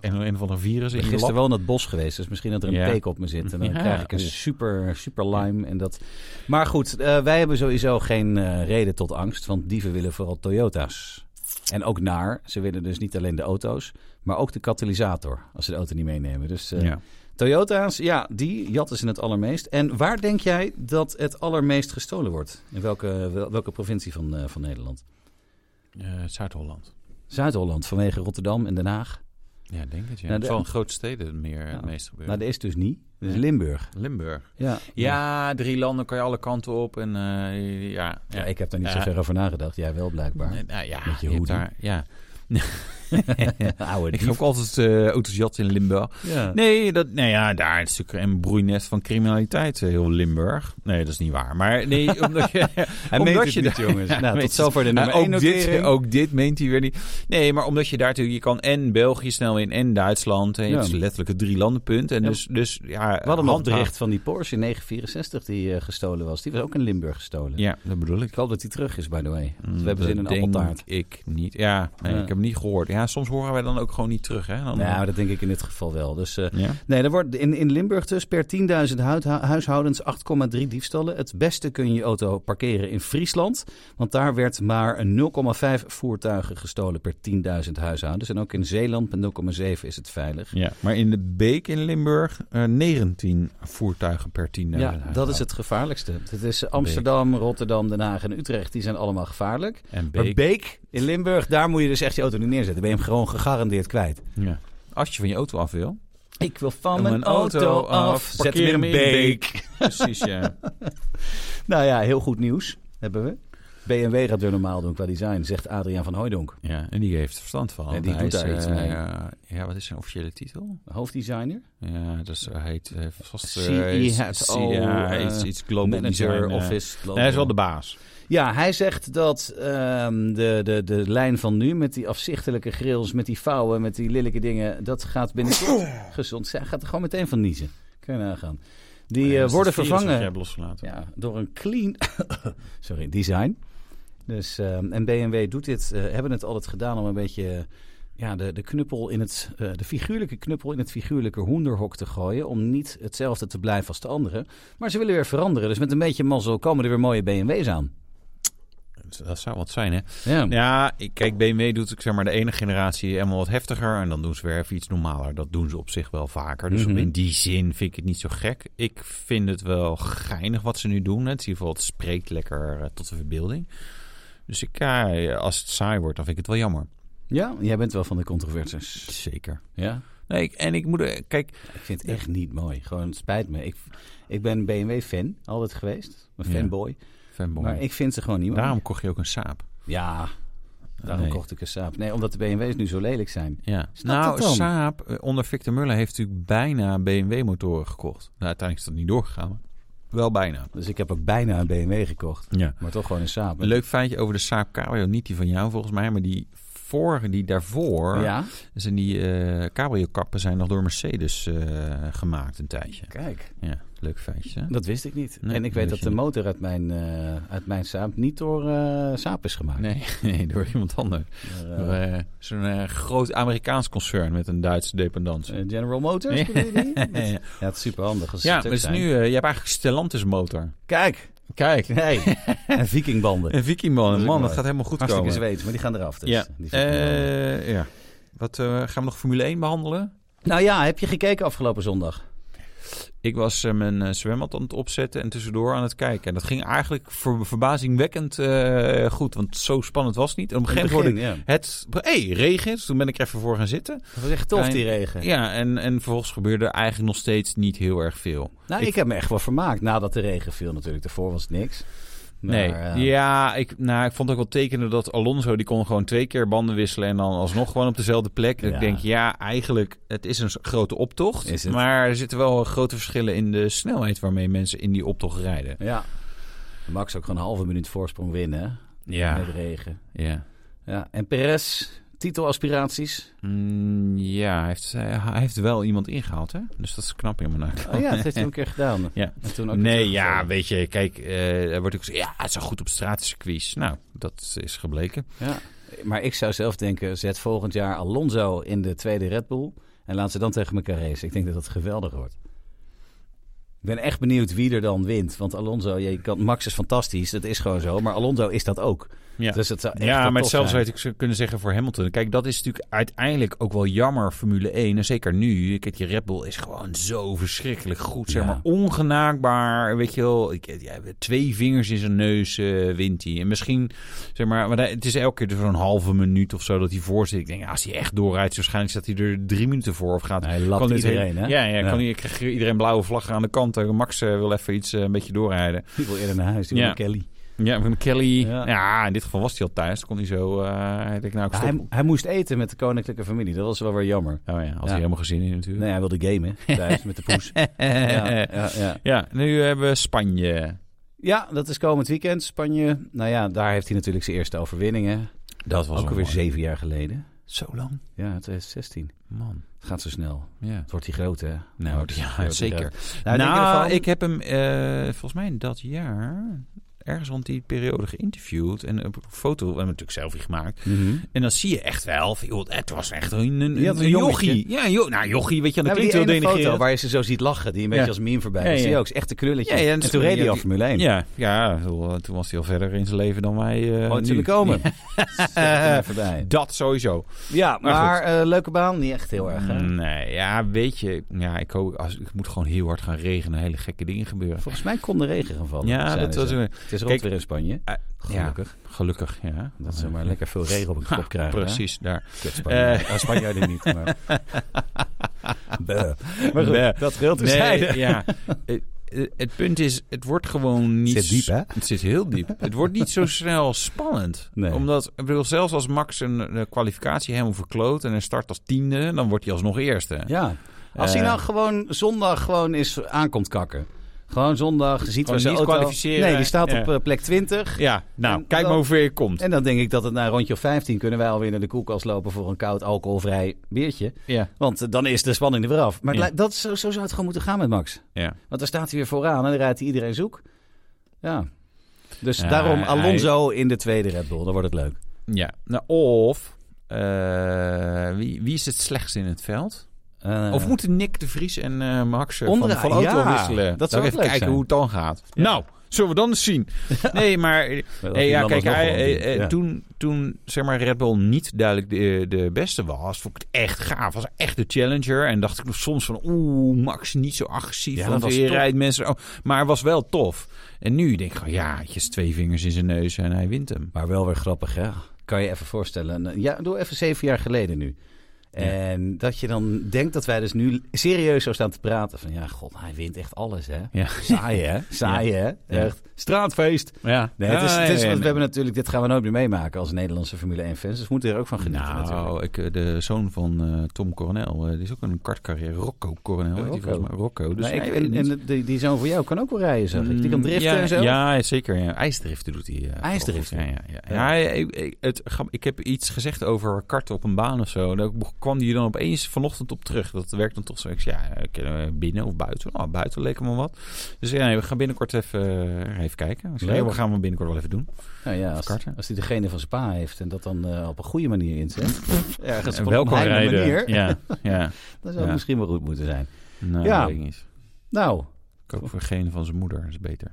[SPEAKER 1] een, een van de virussen in je lab?
[SPEAKER 2] gisteren wel in het bos geweest, dus misschien dat er een
[SPEAKER 1] Ja.
[SPEAKER 2] peek op me zit. En dan
[SPEAKER 1] Ja.
[SPEAKER 2] krijg ik een
[SPEAKER 1] Oeh.
[SPEAKER 2] super, super lime. En dat... Maar goed, eh, wij hebben sowieso geen eh, reden tot angst, want dieven willen vooral Toyota's. En ook naar. Ze willen dus niet alleen de auto's, maar ook de katalysator, als ze de auto niet meenemen. Dus eh,
[SPEAKER 1] Ja.
[SPEAKER 2] Toyota's, ja, die jatten ze het allermeest. En waar denk jij dat het allermeest gestolen wordt? In welke, wel- welke provincie van, eh, van Nederland?
[SPEAKER 1] Eh, Zuid-Holland.
[SPEAKER 2] Zuid-Holland, vanwege Rotterdam en Den Haag.
[SPEAKER 1] Ja, ik denk het. Ja. Nou,
[SPEAKER 2] Nou,
[SPEAKER 1] Het
[SPEAKER 2] de-
[SPEAKER 1] zal in grote steden meer
[SPEAKER 2] Ja.
[SPEAKER 1] het meest gebeuren.
[SPEAKER 2] Nou, dat is dus niet. Dat is Limburg.
[SPEAKER 1] Limburg.
[SPEAKER 2] Ja.
[SPEAKER 1] Ja, drie landen kan je alle kanten op. En, eh, ja.
[SPEAKER 2] Ja, ik heb daar niet
[SPEAKER 1] Ja.
[SPEAKER 2] zo ver over nagedacht. Jij wel, blijkbaar.
[SPEAKER 1] Eh, nou, ja,
[SPEAKER 2] Met je
[SPEAKER 1] je hebt
[SPEAKER 2] hoodie.
[SPEAKER 1] daar, ja.
[SPEAKER 2] Oude
[SPEAKER 1] Ik
[SPEAKER 2] dief.
[SPEAKER 1] ga ook altijd eh auto's jatten in Limburg.
[SPEAKER 2] Ja.
[SPEAKER 1] Nee, dat, nou ja, daar is natuurlijk een broeinest van criminaliteit, eh, heel Limburg. Nee, dat is niet waar. Maar nee, omdat je...
[SPEAKER 2] Hij meent het niet, jongens. Nou, tot zover de nummer één
[SPEAKER 1] ook, dit,
[SPEAKER 2] notering.
[SPEAKER 1] ook dit meent hij weer Oh, niet. Nee, maar omdat je daar natuurlijk... Je kan en België snel in en Duitsland. En
[SPEAKER 2] Ja.
[SPEAKER 1] Het is letterlijk het drie landenpunt. En
[SPEAKER 2] Ja.
[SPEAKER 1] dus, dus ja...
[SPEAKER 2] We hadden nog
[SPEAKER 1] handhaaf-
[SPEAKER 2] bericht van die Porsche 964 die eh, gestolen was. Die was ook in Limburg gestolen.
[SPEAKER 1] Ja, dat bedoel ik.
[SPEAKER 2] Ik hoop dat die terug is, by the way. Want we
[SPEAKER 1] Mm,
[SPEAKER 2] hebben zin in
[SPEAKER 1] dat
[SPEAKER 2] een appeltaart.
[SPEAKER 1] denk ik niet. Ja, nee,
[SPEAKER 2] Ja.
[SPEAKER 1] ik heb hem niet gehoord. Ja, soms horen wij dan ook gewoon niet terug, hè? Dan,
[SPEAKER 2] Nou, dat denk ik in dit geval wel. Dus, eh,
[SPEAKER 1] ja.
[SPEAKER 2] Nee, er wordt in, in Limburg dus per 10.000 huid- huishoudens 8,3 diefstallen. Het beste kun je je auto parkeren in Friesland. Want daar werd maar 0,5 voertuigen gestolen per 10.000 huishoudens. En ook in Zeeland met 0,7 is het veilig.
[SPEAKER 1] Ja, maar in de Beek in Limburg eh 19 voertuigen per 10.000
[SPEAKER 2] Ja, dat is
[SPEAKER 1] huishouden.
[SPEAKER 2] het gevaarlijkste. Het is Amsterdam, Rotterdam, Den Haag en Utrecht. Die zijn allemaal gevaarlijk.
[SPEAKER 1] En
[SPEAKER 2] Maar
[SPEAKER 1] Beek,
[SPEAKER 2] Beek in Limburg, daar moet je dus echt je auto niet neerzetten. Ben je hem gewoon gegarandeerd kwijt.
[SPEAKER 1] ja. als je van je auto af wil.
[SPEAKER 2] Ik wil van
[SPEAKER 1] Doe
[SPEAKER 2] mijn auto, af.
[SPEAKER 1] Parkeer
[SPEAKER 2] Zet hem in Beek.
[SPEAKER 1] Precies, ja.
[SPEAKER 2] Nou ja, heel goed nieuws hebben we. BMW gaat weer normaal doen qua design, zegt Adriaan van Hooijdonk.
[SPEAKER 1] ja. En die heeft er verstand van.
[SPEAKER 2] En
[SPEAKER 1] want
[SPEAKER 2] die
[SPEAKER 1] hij
[SPEAKER 2] doet
[SPEAKER 1] is,
[SPEAKER 2] daar iets
[SPEAKER 1] eh,
[SPEAKER 2] mee.
[SPEAKER 1] ja, ja, wat is zijn officiële titel?
[SPEAKER 2] Hoofddesigner.
[SPEAKER 1] Ja, dus hij heet eh, vast... eh,
[SPEAKER 2] CE
[SPEAKER 1] iets-
[SPEAKER 2] had
[SPEAKER 1] C-
[SPEAKER 2] al,
[SPEAKER 1] ja,
[SPEAKER 2] E eh,
[SPEAKER 1] iets, iets global
[SPEAKER 2] Manager,
[SPEAKER 1] design, eh.
[SPEAKER 2] office.
[SPEAKER 1] Nee, hij is wel de baas.
[SPEAKER 2] Ja, hij zegt dat ehm, de, de, de lijn van nu met die afzichtelijke grills, met die vouwen, met die lelijke dingen, dat gaat binnenkort gezond zijn. Hij gaat er gewoon meteen van niezen. Kun je nagaan. Die
[SPEAKER 1] Oh Ja,
[SPEAKER 2] eh,
[SPEAKER 1] dat is
[SPEAKER 2] worden
[SPEAKER 1] het virus wat
[SPEAKER 2] vervangen
[SPEAKER 1] je hebt losgelaten.
[SPEAKER 2] ja, door een clean sorry, design. Dus, ehm, en BMW doet dit, eh, hebben het altijd gedaan om een beetje eh, ja, de, de knuppel in het, eh, de figuurlijke knuppel in het figuurlijke hoenderhok te gooien. Om niet hetzelfde te blijven als de anderen. Maar ze willen weer veranderen. Dus met een beetje mazzel komen er weer mooie BMW's aan.
[SPEAKER 1] Dat zou wat zijn, hè?
[SPEAKER 2] Ja,
[SPEAKER 1] Ja, ik- kijk, BMW doet ik zeg maar de ene generatie helemaal wat heftiger. En dan doen ze weer even iets normaler. Dat doen ze op zich wel vaker. Dus
[SPEAKER 2] Mhm.
[SPEAKER 1] in die zin vind ik het niet zo gek. Ik vind het wel geinig wat ze nu doen. Het, is in ieder geval, het spreekt lekker eh, tot de verbeelding. Dus ik, eh, als het saai wordt, dan vind ik het wel jammer.
[SPEAKER 2] ja jij bent wel van de controversies.
[SPEAKER 1] Zeker.
[SPEAKER 2] Ja,
[SPEAKER 1] Nee, ik- en ik moet... eh, Kijk,
[SPEAKER 2] ik vind het echt niet mooi. Gewoon, het spijt me. Ik, ik ben BMW-fan, altijd geweest. Een
[SPEAKER 1] Ja.
[SPEAKER 2] fanboy.
[SPEAKER 1] fanboy.
[SPEAKER 2] Maar ik vind ze gewoon niet mooi.
[SPEAKER 1] Daarom kocht je ook een saap.
[SPEAKER 2] Ja, daarom
[SPEAKER 1] Nee.
[SPEAKER 2] kocht ik een Saab. Nee, omdat de BMW's nu zo lelijk zijn.
[SPEAKER 1] Ja.
[SPEAKER 2] Snap
[SPEAKER 1] Nou,
[SPEAKER 2] dat dan?
[SPEAKER 1] Saab eh, onder Victor Muller heeft natuurlijk bijna BMW-motoren gekocht. Nou, uiteindelijk is dat niet doorgegaan. maar Wel bijna.
[SPEAKER 2] Dus ik heb ook bijna een BMW gekocht.
[SPEAKER 1] Ja.
[SPEAKER 2] Maar toch gewoon een Saab.
[SPEAKER 1] Een leuk feitje over de Saab Cabrio. Niet die van jou volgens mij, maar die vorige, die daarvoor.
[SPEAKER 2] Ja,
[SPEAKER 1] Zijn die eh, cabrio-kappen zijn nog door Mercedes eh, gemaakt een tijdje.
[SPEAKER 2] kijk.
[SPEAKER 1] Ja, leuk feitje. hè?
[SPEAKER 2] Dat wist ik niet.
[SPEAKER 1] Nee,
[SPEAKER 2] en ik
[SPEAKER 1] dat wist
[SPEAKER 2] weet dat
[SPEAKER 1] je
[SPEAKER 2] de
[SPEAKER 1] niet.
[SPEAKER 2] motor uit mijn, eh, uit mijn Saab niet door eh Saab is gemaakt.
[SPEAKER 1] Nee, nee, door iemand anders.
[SPEAKER 2] Maar, eh,
[SPEAKER 1] Door, eh, Zo'n eh, groot Amerikaans concern met een Duitse dependantie.
[SPEAKER 2] eh, General Motors bedoel je die?
[SPEAKER 1] Ja, ja.
[SPEAKER 2] Ja, het is super handig. Als ze
[SPEAKER 1] ja,
[SPEAKER 2] stuk
[SPEAKER 1] maar het is
[SPEAKER 2] zijn.
[SPEAKER 1] nu, eh, je hebt eigenlijk Stellantis motor.
[SPEAKER 2] Kijk,
[SPEAKER 1] Kijk,
[SPEAKER 2] nee. en vikingbanden.
[SPEAKER 1] een Vikingman.
[SPEAKER 2] Dat is
[SPEAKER 1] Man,
[SPEAKER 2] ook
[SPEAKER 1] man
[SPEAKER 2] mooi.
[SPEAKER 1] dat gaat helemaal goed
[SPEAKER 2] Hartstikke
[SPEAKER 1] komen.
[SPEAKER 2] Zweeds, maar die gaan eraf. Dus.
[SPEAKER 1] Ja.
[SPEAKER 2] Die vikingbanden.
[SPEAKER 1] Eh, ja. Wat, eh, gaan we nog Formule 1 behandelen?
[SPEAKER 2] Nou ja, heb je gekeken afgelopen zondag?
[SPEAKER 1] Ik was eh, mijn eh, zwembad aan het opzetten en tussendoor aan het kijken. En dat ging eigenlijk ver- verbazingwekkend eh, goed, want zo spannend was het niet. En op een gegeven moment
[SPEAKER 2] ja.
[SPEAKER 1] hoorde ik het... Hé, hey, regen. Dus toen ben ik er even voor gaan zitten.
[SPEAKER 2] Dat was echt tof,
[SPEAKER 1] Fijn.
[SPEAKER 2] die regen.
[SPEAKER 1] Ja, en, en vervolgens gebeurde eigenlijk nog steeds niet heel erg veel.
[SPEAKER 2] Nou, ik, heb me echt wel vermaakt nadat de regen viel natuurlijk. Daarvoor was het niks. Maar,
[SPEAKER 1] Nee,
[SPEAKER 2] eh,
[SPEAKER 1] ja, ik, nou, ik vond ook wel tekenen dat Alonso, die kon gewoon twee keer banden wisselen en dan alsnog gewoon op dezelfde plek. En
[SPEAKER 2] Ja.
[SPEAKER 1] Ik denk, ja, eigenlijk, het is een s- grote optocht,
[SPEAKER 2] Is het?
[SPEAKER 1] maar er zitten wel grote verschillen in de snelheid waarmee mensen in die optocht rijden.
[SPEAKER 2] ja. Max ook gewoon een halve minuut voorsprong winnen hè,
[SPEAKER 1] Ja,
[SPEAKER 2] met regen.
[SPEAKER 1] ja.
[SPEAKER 2] Ja. En Perez, titelaspiraties.
[SPEAKER 1] Mm, ja, hij heeft, eh, hij heeft wel iemand ingehaald, hè? Dus dat is knap in mijn naam.
[SPEAKER 2] Oh ja, dat heeft hij een keer gedaan.
[SPEAKER 1] Ja.
[SPEAKER 2] En toen ook
[SPEAKER 1] Nee,
[SPEAKER 2] weer
[SPEAKER 1] ja,
[SPEAKER 2] teruggevallen.
[SPEAKER 1] weet je, kijk, eh, er wordt ook gezegd, ja, het is wel goed op straatcircuits. Nou, dat is gebleken.
[SPEAKER 2] Ja. Maar ik zou zelf denken, zet volgend jaar Alonso in de tweede Red Bull. En laat ze dan tegen elkaar racen. Ik denk dat dat geweldig wordt. Ik ben echt benieuwd wie er dan wint. Want Alonso, ja, je kan, Max is fantastisch, dat is gewoon zo. Maar Alonso is dat ook.
[SPEAKER 1] Ja.
[SPEAKER 2] Dus het zou echt wel
[SPEAKER 1] ja, maar
[SPEAKER 2] tof
[SPEAKER 1] hetzelfde
[SPEAKER 2] zijn.
[SPEAKER 1] zou ik zo kunnen zeggen voor Hamilton. Kijk, dat is natuurlijk uiteindelijk ook wel jammer, Formule 1. En zeker nu. Kijk, die Red Bull is gewoon zo verschrikkelijk goed. Zeg
[SPEAKER 2] Ja.
[SPEAKER 1] maar ongenaakbaar. Weet je wel, ik, ja, twee vingers in zijn neus eh, wint hij. En misschien, zeg maar, maar het is elke keer dus zo'n halve minuut of zo dat hij voor zit. Ik denk, ja, als hij echt doorrijdt, waarschijnlijk staat hij er drie minuten voor of gaat.
[SPEAKER 2] Hij lapt
[SPEAKER 1] dit
[SPEAKER 2] iedereen,
[SPEAKER 1] heel-
[SPEAKER 2] hè?
[SPEAKER 1] Ja, ja,
[SPEAKER 2] Ja.
[SPEAKER 1] Kan, hier- krijgt hier iedereen blauwe vlaggen aan de kant. Eh, Max eh, wil even iets, eh, een beetje doorrijden.
[SPEAKER 2] Die wil eerder naar huis, die
[SPEAKER 1] Ja.
[SPEAKER 2] wil naar Kelly.
[SPEAKER 1] Ja, met Kelly.
[SPEAKER 2] Ja.
[SPEAKER 1] Ja. in dit geval was hij al thuis. Dan kon hij zo. eh, hij denkt, nou, ik
[SPEAKER 2] Ja,
[SPEAKER 1] stop.
[SPEAKER 2] hij, hij moest eten met de koninklijke familie. Dat was wel weer jammer.
[SPEAKER 1] Oh ja, had
[SPEAKER 2] Ja.
[SPEAKER 1] hij helemaal geen zin in natuurlijk.
[SPEAKER 2] Nee, hij wilde gamen thuis met de poes. Ja, ja, ja.
[SPEAKER 1] Ja, nu hebben we Spanje.
[SPEAKER 2] ja, dat is komend weekend. Spanje. Nou ja, daar heeft hij natuurlijk zijn eerste overwinningen.
[SPEAKER 1] Dat
[SPEAKER 2] Ook alweer zeven jaar geleden.
[SPEAKER 1] Zo lang.
[SPEAKER 2] Ja, 2016.
[SPEAKER 1] Man.
[SPEAKER 2] Het gaat zo snel.
[SPEAKER 1] Ja.
[SPEAKER 2] Het wordt die grote, hè?
[SPEAKER 1] Nou,
[SPEAKER 2] Wordt die
[SPEAKER 1] ja,
[SPEAKER 2] grote,
[SPEAKER 1] zeker.
[SPEAKER 2] ja.
[SPEAKER 1] Nou,
[SPEAKER 2] Nou, denk je ervan?
[SPEAKER 1] ik heb hem eh, volgens mij in dat jaar ergens rond die periode geïnterviewd. En op een foto, we hebben natuurlijk selfie gemaakt.
[SPEAKER 2] Mhm.
[SPEAKER 1] En dan zie je echt wel, van, joh, het was echt een, een, een,
[SPEAKER 2] Ja, het was een jongetje.
[SPEAKER 1] jochie. Ja, joh, nou, jochie, weet je, dat
[SPEAKER 2] Nou, die
[SPEAKER 1] klinkt heel
[SPEAKER 2] ene foto
[SPEAKER 1] denigrerend.
[SPEAKER 2] waar je ze zo ziet lachen, die een beetje
[SPEAKER 1] Ja.
[SPEAKER 2] als meme voorbij.
[SPEAKER 1] Ja,
[SPEAKER 2] Dat
[SPEAKER 1] ja.
[SPEAKER 2] zie je ook, is echt een krulletje.
[SPEAKER 1] Ja, ja,
[SPEAKER 2] en
[SPEAKER 1] dat
[SPEAKER 2] toen
[SPEAKER 1] is-
[SPEAKER 2] reed hij
[SPEAKER 1] ja,
[SPEAKER 2] al
[SPEAKER 1] die-
[SPEAKER 2] Formule 1.
[SPEAKER 1] Ja, ja, bedoel, toen was hij al verder in zijn leven dan wij eh,
[SPEAKER 2] Ooit
[SPEAKER 1] nu.
[SPEAKER 2] zullen komen.
[SPEAKER 1] Ja.
[SPEAKER 2] Voorbij.
[SPEAKER 1] Dat sowieso.
[SPEAKER 2] Ja,
[SPEAKER 1] Maar Mm.
[SPEAKER 2] maar eh, leuke baan. Niet echt heel erg, hè?
[SPEAKER 1] Nee, ja, weet je, ja, ik hoop, als, het moet gewoon heel hard gaan regenen, hele gekke dingen gebeuren.
[SPEAKER 2] Volgens mij kon de regen gaan vallen.
[SPEAKER 1] Ja,
[SPEAKER 2] zeiden
[SPEAKER 1] dat
[SPEAKER 2] ze.
[SPEAKER 1] was een,
[SPEAKER 2] Het is
[SPEAKER 1] Kijk,
[SPEAKER 2] rond weer in Spanje.
[SPEAKER 1] eh,
[SPEAKER 2] Gelukkig.
[SPEAKER 1] gelukkig, ja.
[SPEAKER 2] Dat ze maar lekker veel regen op hun kop krijgen. hè?
[SPEAKER 1] Precies, Eh. daar.
[SPEAKER 2] Kut, Spanjaarden. Ah, Spanjaarden niet, maar... Bleh. Maar goed,
[SPEAKER 1] Bleh.
[SPEAKER 2] dat wil te
[SPEAKER 1] dus. Nee, ja. Eh, eh, Het punt is, het wordt gewoon niet...
[SPEAKER 2] zit diep, hè?
[SPEAKER 1] Het zit heel diep. Het wordt niet zo snel spannend.
[SPEAKER 2] Nee.
[SPEAKER 1] Omdat, ik bedoel, zelfs als Max een eh, kwalificatie helemaal verkloot en hij start als tiende, dan wordt hij alsnog eerste.
[SPEAKER 2] Ja. Als hij
[SPEAKER 1] Eh.
[SPEAKER 2] nou gewoon zondag gewoon eens aankomt kakken. Gewoon zondag, ziet
[SPEAKER 1] Gewoon
[SPEAKER 2] waar zijn
[SPEAKER 1] niet
[SPEAKER 2] auto...
[SPEAKER 1] kwalificeren.
[SPEAKER 2] Nee, die staat
[SPEAKER 1] Ja.
[SPEAKER 2] op eh, plek 20.
[SPEAKER 1] Ja, nou,
[SPEAKER 2] En
[SPEAKER 1] kijk
[SPEAKER 2] dan-
[SPEAKER 1] maar hoe ver je komt.
[SPEAKER 2] En dan denk ik dat het na een rondje of 15 kunnen wij alweer naar de koelkast lopen voor een koud alcoholvrij biertje.
[SPEAKER 1] ja.
[SPEAKER 2] Want eh, dan is de spanning er weer af. Maar het
[SPEAKER 1] Ja.
[SPEAKER 2] lijkt- dat, is- zo, zo zou het gewoon moeten gaan met Max.
[SPEAKER 1] ja.
[SPEAKER 2] Want dan staat hij weer vooraan en dan rijdt hij iedereen zoek. Ja. Dus
[SPEAKER 1] Ja,
[SPEAKER 2] daarom
[SPEAKER 1] hij-
[SPEAKER 2] Alonso in de tweede Red Bull. Dan wordt het leuk.
[SPEAKER 1] ja. Nou, of, eh, wie, wie is het slechtst in het veld?
[SPEAKER 2] Eh,
[SPEAKER 1] Of moeten Nick de Vries en eh, Max eh,
[SPEAKER 2] Onderaan,
[SPEAKER 1] van, van auto
[SPEAKER 2] ja.
[SPEAKER 1] wisselen?
[SPEAKER 2] Dat
[SPEAKER 1] Laten we
[SPEAKER 2] zou ook
[SPEAKER 1] even
[SPEAKER 2] leuk
[SPEAKER 1] kijken
[SPEAKER 2] zijn.
[SPEAKER 1] hoe het dan gaat.
[SPEAKER 2] Ja.
[SPEAKER 1] Nou, zullen we dan eens zien. Nee, maar eh,
[SPEAKER 2] dat
[SPEAKER 1] eh, ja,
[SPEAKER 2] iemand
[SPEAKER 1] kijk,
[SPEAKER 2] alsnog
[SPEAKER 1] hij,
[SPEAKER 2] wel
[SPEAKER 1] eh,
[SPEAKER 2] doet.
[SPEAKER 1] eh,
[SPEAKER 2] Ja.
[SPEAKER 1] toen, toen zeg maar, Red Bull niet duidelijk de, de beste was, vond ik het echt gaaf. Was echt de challenger. En dacht ik nog soms van, oeh, Max niet zo agressief.
[SPEAKER 2] Ja, dat
[SPEAKER 1] want
[SPEAKER 2] was
[SPEAKER 1] je
[SPEAKER 2] tof.
[SPEAKER 1] rijdt mensen. Oh, maar het was wel tof. En nu denk ik gewoon, ja, het is twee vingers in zijn neus en hij wint hem.
[SPEAKER 2] Maar wel weer grappig, hè? Kan je even voorstellen. Een- Ja, doe even zeven jaar geleden nu. En dat je dan denkt dat wij dus nu serieus zo staan te praten. Van ja, god, hij wint echt alles, hè?
[SPEAKER 1] Ja.
[SPEAKER 2] Saai, hè? Saai, hè?
[SPEAKER 1] Ja.
[SPEAKER 2] Echt. Straatfeest.
[SPEAKER 1] Ja,
[SPEAKER 2] Nee, het is,
[SPEAKER 1] Ah,
[SPEAKER 2] het is,
[SPEAKER 1] ja,
[SPEAKER 2] want we
[SPEAKER 1] ja.
[SPEAKER 2] hebben natuurlijk, dit gaan we nooit meer meemaken als Nederlandse Formule 1-fans. Dus we moeten er ook van genieten natuurlijk.
[SPEAKER 1] Nou, ik, eh, de zoon van eh, Tom Coronel, eh, die is ook een kartcarrière. Rocco Coronel, heet die
[SPEAKER 2] Rocco.
[SPEAKER 1] volgens mij. Rocco. Dus
[SPEAKER 2] Maar ik-
[SPEAKER 1] hij-
[SPEAKER 2] en en die, die zoon van jou kan ook wel rijden, zeg ik. Die kan driften
[SPEAKER 1] Mm. ja,
[SPEAKER 2] en zo.
[SPEAKER 1] Ja, zeker. Ja. IJsdriften doet hij. eh,
[SPEAKER 2] IJsdriften?
[SPEAKER 1] vooral goed. Ja, ja, ja. ja ik, ik- het, grap- ik heb iets gezegd over karten op een baan of zo. En daar kwam hij dan opeens vanochtend op terug. Dat werkt dan toch zo. Ik zei, ja, eh, kunnen we binnen of buiten? Nou, buiten leek hem wel wat. Dus ja, nee, we gaan binnenkort even, eh, even kijken. Ik zei,
[SPEAKER 2] Leuk.
[SPEAKER 1] ja, we gaan hem binnenkort wel even doen.
[SPEAKER 2] Nou ja, als,
[SPEAKER 1] karten.
[SPEAKER 2] als die degene van Spa heeft en dat dan eh, op een goede manier inzet. Ergens op een
[SPEAKER 1] welkom
[SPEAKER 2] geheime
[SPEAKER 1] rijden.
[SPEAKER 2] manier.
[SPEAKER 1] Ja, ja.
[SPEAKER 2] Dan zou het
[SPEAKER 1] Ja.
[SPEAKER 2] misschien wel goed moeten zijn.
[SPEAKER 1] Nou,
[SPEAKER 2] Ja.
[SPEAKER 1] dat weet ik niet.
[SPEAKER 2] Nou,
[SPEAKER 1] Koop voor geen van zijn moeder, dat is beter.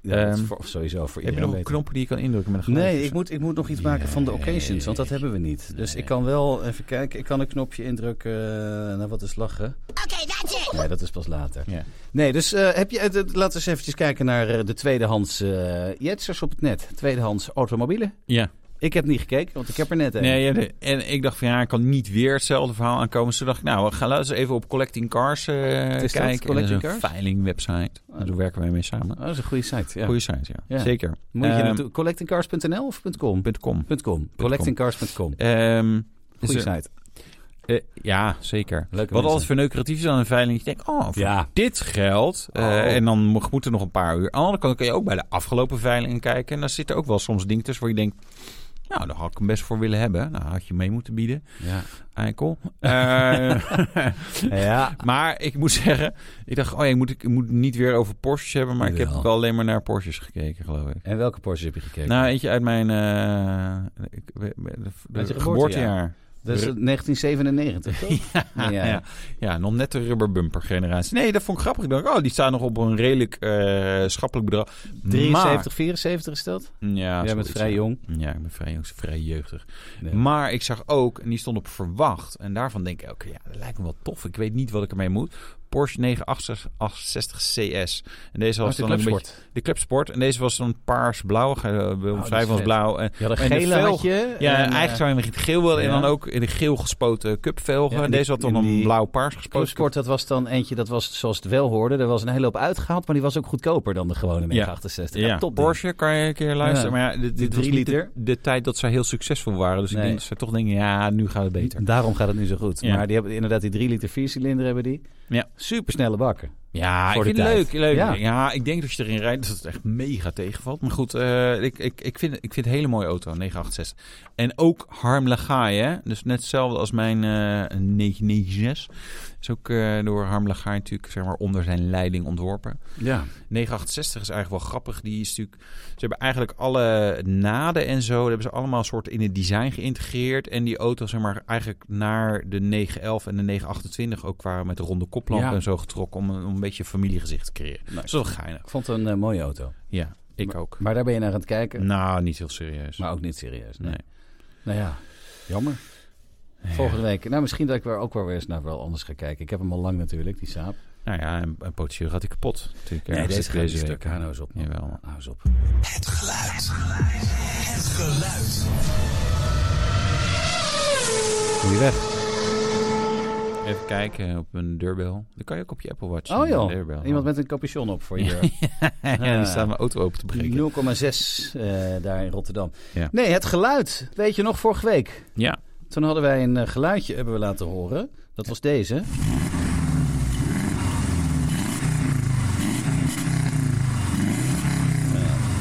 [SPEAKER 2] ja, dat is
[SPEAKER 1] Ehm,
[SPEAKER 2] voor- sowieso voor
[SPEAKER 1] Heb je
[SPEAKER 2] iedereen
[SPEAKER 1] nog een
[SPEAKER 2] beter.
[SPEAKER 1] knoppen die je kan indrukken met een
[SPEAKER 2] Nee,
[SPEAKER 1] geluidje
[SPEAKER 2] ik
[SPEAKER 1] of
[SPEAKER 2] moet, ik moet nog iets maken van de occasions, want dat hebben we niet. Dus ik kan wel, even kijken, ik kan een knopje indrukken eh, naar wat is lachen. Oké, that's it! Nee, dat is pas later.
[SPEAKER 1] zo? Ja.
[SPEAKER 2] Nee, dus eh, heb je, eh, dat- laten we eens eventjes kijken naar eh, de tweedehands eh jetsers op het net. Tweedehands automobielen.
[SPEAKER 1] ja.
[SPEAKER 2] Ik heb niet gekeken, want ik heb er net een.
[SPEAKER 1] Nee, ja, de- en ik dacht van ja, ik kan niet weer hetzelfde verhaal aankomen. Dus toen dacht ik, nou, we gaan laten eens even op Collecting Cars eh,
[SPEAKER 2] is dat,
[SPEAKER 1] kijken. En dat is
[SPEAKER 2] Collecting
[SPEAKER 1] een
[SPEAKER 2] Cars?
[SPEAKER 1] veiling website. Daar werken wij mee samen.
[SPEAKER 2] Oh, dat is een goede site, ja.
[SPEAKER 1] Goeie site, ja.
[SPEAKER 2] Ja.
[SPEAKER 1] Zeker.
[SPEAKER 2] Moet je
[SPEAKER 1] Ehm,
[SPEAKER 2] naartoe, collectingcars.nl of .com?
[SPEAKER 1] .com.
[SPEAKER 2] .com, collectingcars.com.
[SPEAKER 1] Ehm, dus,
[SPEAKER 2] Goeie
[SPEAKER 1] eh,
[SPEAKER 2] site.
[SPEAKER 1] eh, ja, zeker.
[SPEAKER 2] Leuke
[SPEAKER 1] Wat
[SPEAKER 2] mensen.
[SPEAKER 1] altijd verneukeratief is aan een veiling. Je denkt, oh, voor
[SPEAKER 2] Ja.
[SPEAKER 1] dit geld. eh,
[SPEAKER 2] Oh.
[SPEAKER 1] En dan mo- moet er nog een paar uur. Aan de andere kant kun je ook bij de afgelopen veilingen kijken. En daar zitten ook wel soms dingen tussen waar je denkt... Nou, daar had ik hem best voor willen hebben. Nou, had je mee moeten bieden,
[SPEAKER 2] Ja.
[SPEAKER 1] eikel. Eh,
[SPEAKER 2] ja.
[SPEAKER 1] Maar ik moet zeggen, ik dacht, oh ja, ik moet, ik moet niet weer over Porsches hebben. Maar ik heb
[SPEAKER 2] Jawel.
[SPEAKER 1] ook wel alleen maar naar Porsches gekeken, geloof ik.
[SPEAKER 2] En welke Porsche heb je gekeken?
[SPEAKER 1] Nou, eentje uit mijn eh, ik- we- we- de-
[SPEAKER 2] Uit je
[SPEAKER 1] de-
[SPEAKER 2] geboortejaar.
[SPEAKER 1] geboortejaar.
[SPEAKER 2] dat is het 1997, toch?
[SPEAKER 1] Ja,
[SPEAKER 2] Ja.
[SPEAKER 1] ja. ja, nog net de rubberbumper generatie. Nee, dat vond ik grappig. Ik dacht, oh, die staan nog op een redelijk eh, schappelijk bedrag.
[SPEAKER 2] 73, 74 is dat?
[SPEAKER 1] Maar, ja,
[SPEAKER 2] Jij bent
[SPEAKER 1] zoiets,
[SPEAKER 2] vrij
[SPEAKER 1] ja.
[SPEAKER 2] jong.
[SPEAKER 1] Ja, ik ben vrij jong, vrij jeugdig.
[SPEAKER 2] Ah, Nee.
[SPEAKER 1] Maar ik zag ook, en die stond op verwacht. En daarvan denk ik, oké, ja, dat lijkt me wel tof. Ik weet niet wat ik ermee moet. Porsche 968 CS. E En deze was
[SPEAKER 2] Oh, de
[SPEAKER 1] dan een beetje...
[SPEAKER 2] clubsport. Oh,
[SPEAKER 1] De clubsport. En deze was dan paars-blauw. ge- eh,
[SPEAKER 2] is
[SPEAKER 1] Omschrijven als
[SPEAKER 2] vet.
[SPEAKER 1] blauw. En,
[SPEAKER 2] Ja, de
[SPEAKER 1] de
[SPEAKER 2] gele
[SPEAKER 1] velg-
[SPEAKER 2] had je.
[SPEAKER 1] ja,
[SPEAKER 2] en, eh,
[SPEAKER 1] eigenlijk zou je hem in het geel willen.
[SPEAKER 2] ja.
[SPEAKER 1] En dan ook in de geel gespoten cupvelgen.
[SPEAKER 2] Ja,
[SPEAKER 1] en
[SPEAKER 2] die-
[SPEAKER 1] deze had dan
[SPEAKER 2] en
[SPEAKER 1] een
[SPEAKER 2] die
[SPEAKER 1] blauw-paars gespoten.
[SPEAKER 2] Clubsport, dat was dan eentje, dat was zoals het wel hoorde. Er was een hele hoop uitgehaald, maar die was ook goedkoper dan de gewone
[SPEAKER 1] Ja.
[SPEAKER 2] 68.
[SPEAKER 1] Ja,
[SPEAKER 2] top. ding.
[SPEAKER 1] Porsche kan je een keer luisteren.
[SPEAKER 2] Ja.
[SPEAKER 1] Maar ja, dit, dit
[SPEAKER 2] drie
[SPEAKER 1] was niet de,
[SPEAKER 2] liter.
[SPEAKER 1] de tijd dat zij heel succesvol waren. Dus ik
[SPEAKER 2] Nee.
[SPEAKER 1] denk dat ze toch denken, ja, nu gaat het beter.
[SPEAKER 2] Daarom gaat het nu zo goed.
[SPEAKER 1] Ja.
[SPEAKER 2] Maar die hebben inderdaad die 3 liter 4 cilinder hebben die.
[SPEAKER 1] Ja.
[SPEAKER 2] Supersnelle bakken.
[SPEAKER 1] Ja,
[SPEAKER 2] Voor
[SPEAKER 1] ik
[SPEAKER 2] de
[SPEAKER 1] vind het
[SPEAKER 2] tijd.
[SPEAKER 1] leuk. leuk.
[SPEAKER 2] Ja.
[SPEAKER 1] Ja. ik denk dat je erin rijdt dat het echt mega tegenvalt. Maar goed, eh, ik, ik, ik, vind, ik vind het een hele mooie auto, 986. En ook Harm Lagaai, hè? Dus net hetzelfde als mijn eh 996. Is ook eh, door Harm Lagaai natuurlijk zeg maar, onder zijn leiding ontworpen.
[SPEAKER 2] Ja.
[SPEAKER 1] 968 is eigenlijk wel grappig. Die is natuurlijk, ze hebben eigenlijk alle naden en zo, dat hebben ze allemaal soort in het design geïntegreerd. En die auto zeg maar eigenlijk naar de 911 en de 928 ook qua met de ronde koplampen
[SPEAKER 2] Ja.
[SPEAKER 1] en zo getrokken om een, om een beetje een familiegezicht te creëren.
[SPEAKER 2] Nice.
[SPEAKER 1] Dat is wel geinig.
[SPEAKER 2] Ik vond het een eh, mooie auto.
[SPEAKER 1] Ja, ik ook.
[SPEAKER 2] Maar daar ben je naar aan het kijken.
[SPEAKER 1] Nou, niet heel serieus.
[SPEAKER 2] Maar ook niet serieus. Nee.
[SPEAKER 1] nee.
[SPEAKER 2] Nou ja, jammer. Volgende week. Nou, misschien dat ik er ook wel weer eens naar wel anders ga kijken. Ik heb hem al lang natuurlijk, die saap.
[SPEAKER 1] Nou ja, en, en potentieel gaat hij kapot. Natuurlijk, ergens
[SPEAKER 2] deze gaat een
[SPEAKER 1] week.
[SPEAKER 2] stuk. Hou nou eens op, man.
[SPEAKER 1] Jawel, man.
[SPEAKER 2] Hou eens op.
[SPEAKER 3] Het geluid. Het geluid.
[SPEAKER 2] Goeie weg.
[SPEAKER 1] Even kijken op een deurbel. Dan kan je ook op je Apple Watch.
[SPEAKER 2] Oh
[SPEAKER 1] een
[SPEAKER 2] joh,
[SPEAKER 1] deurbel.
[SPEAKER 2] iemand Ah. met een capuchon op voor je deur.
[SPEAKER 1] ja, die staat mijn auto open te breken.
[SPEAKER 2] 0,6 eh, daar in Rotterdam.
[SPEAKER 1] Ja.
[SPEAKER 2] Nee, het geluid. Weet je nog, vorige week.
[SPEAKER 1] Ja.
[SPEAKER 2] Toen hadden wij een eh, geluidje hebben we laten Eh, horen. Dat was deze.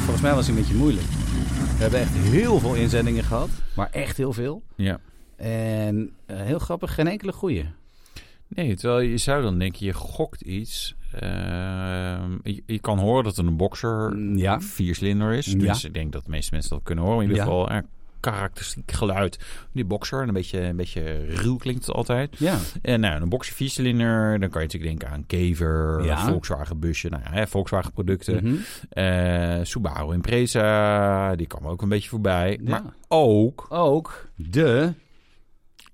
[SPEAKER 2] Volgens mij was hij een beetje moeilijk. We hebben echt heel veel inzendingen gehad. Maar echt heel veel.
[SPEAKER 1] Ja.
[SPEAKER 2] En eh, heel grappig, geen enkele goeie.
[SPEAKER 1] Nee, terwijl je zou dan denken, je gokt iets. Ehm, je, je kan horen dat het een boxer
[SPEAKER 2] Mm, ja.
[SPEAKER 1] vierslinder is.
[SPEAKER 2] Ja.
[SPEAKER 1] Dus ik denk dat de meeste mensen dat kunnen horen. In ieder
[SPEAKER 2] Ja.
[SPEAKER 1] geval een karakteristiek geluid. Die boxer, een beetje, een beetje ruw klinkt het altijd.
[SPEAKER 2] Ja.
[SPEAKER 1] En nou, een boxer viercilinder, dan kan je natuurlijk denken aan Kever,
[SPEAKER 2] Ja.
[SPEAKER 1] Volkswagen busje, nou ja, hè, Volkswagen producten.
[SPEAKER 2] Mhm.
[SPEAKER 1] Eh, Subaru Impreza, die kwam ook een beetje voorbij.
[SPEAKER 2] Ja.
[SPEAKER 1] Maar ook
[SPEAKER 2] Ook de...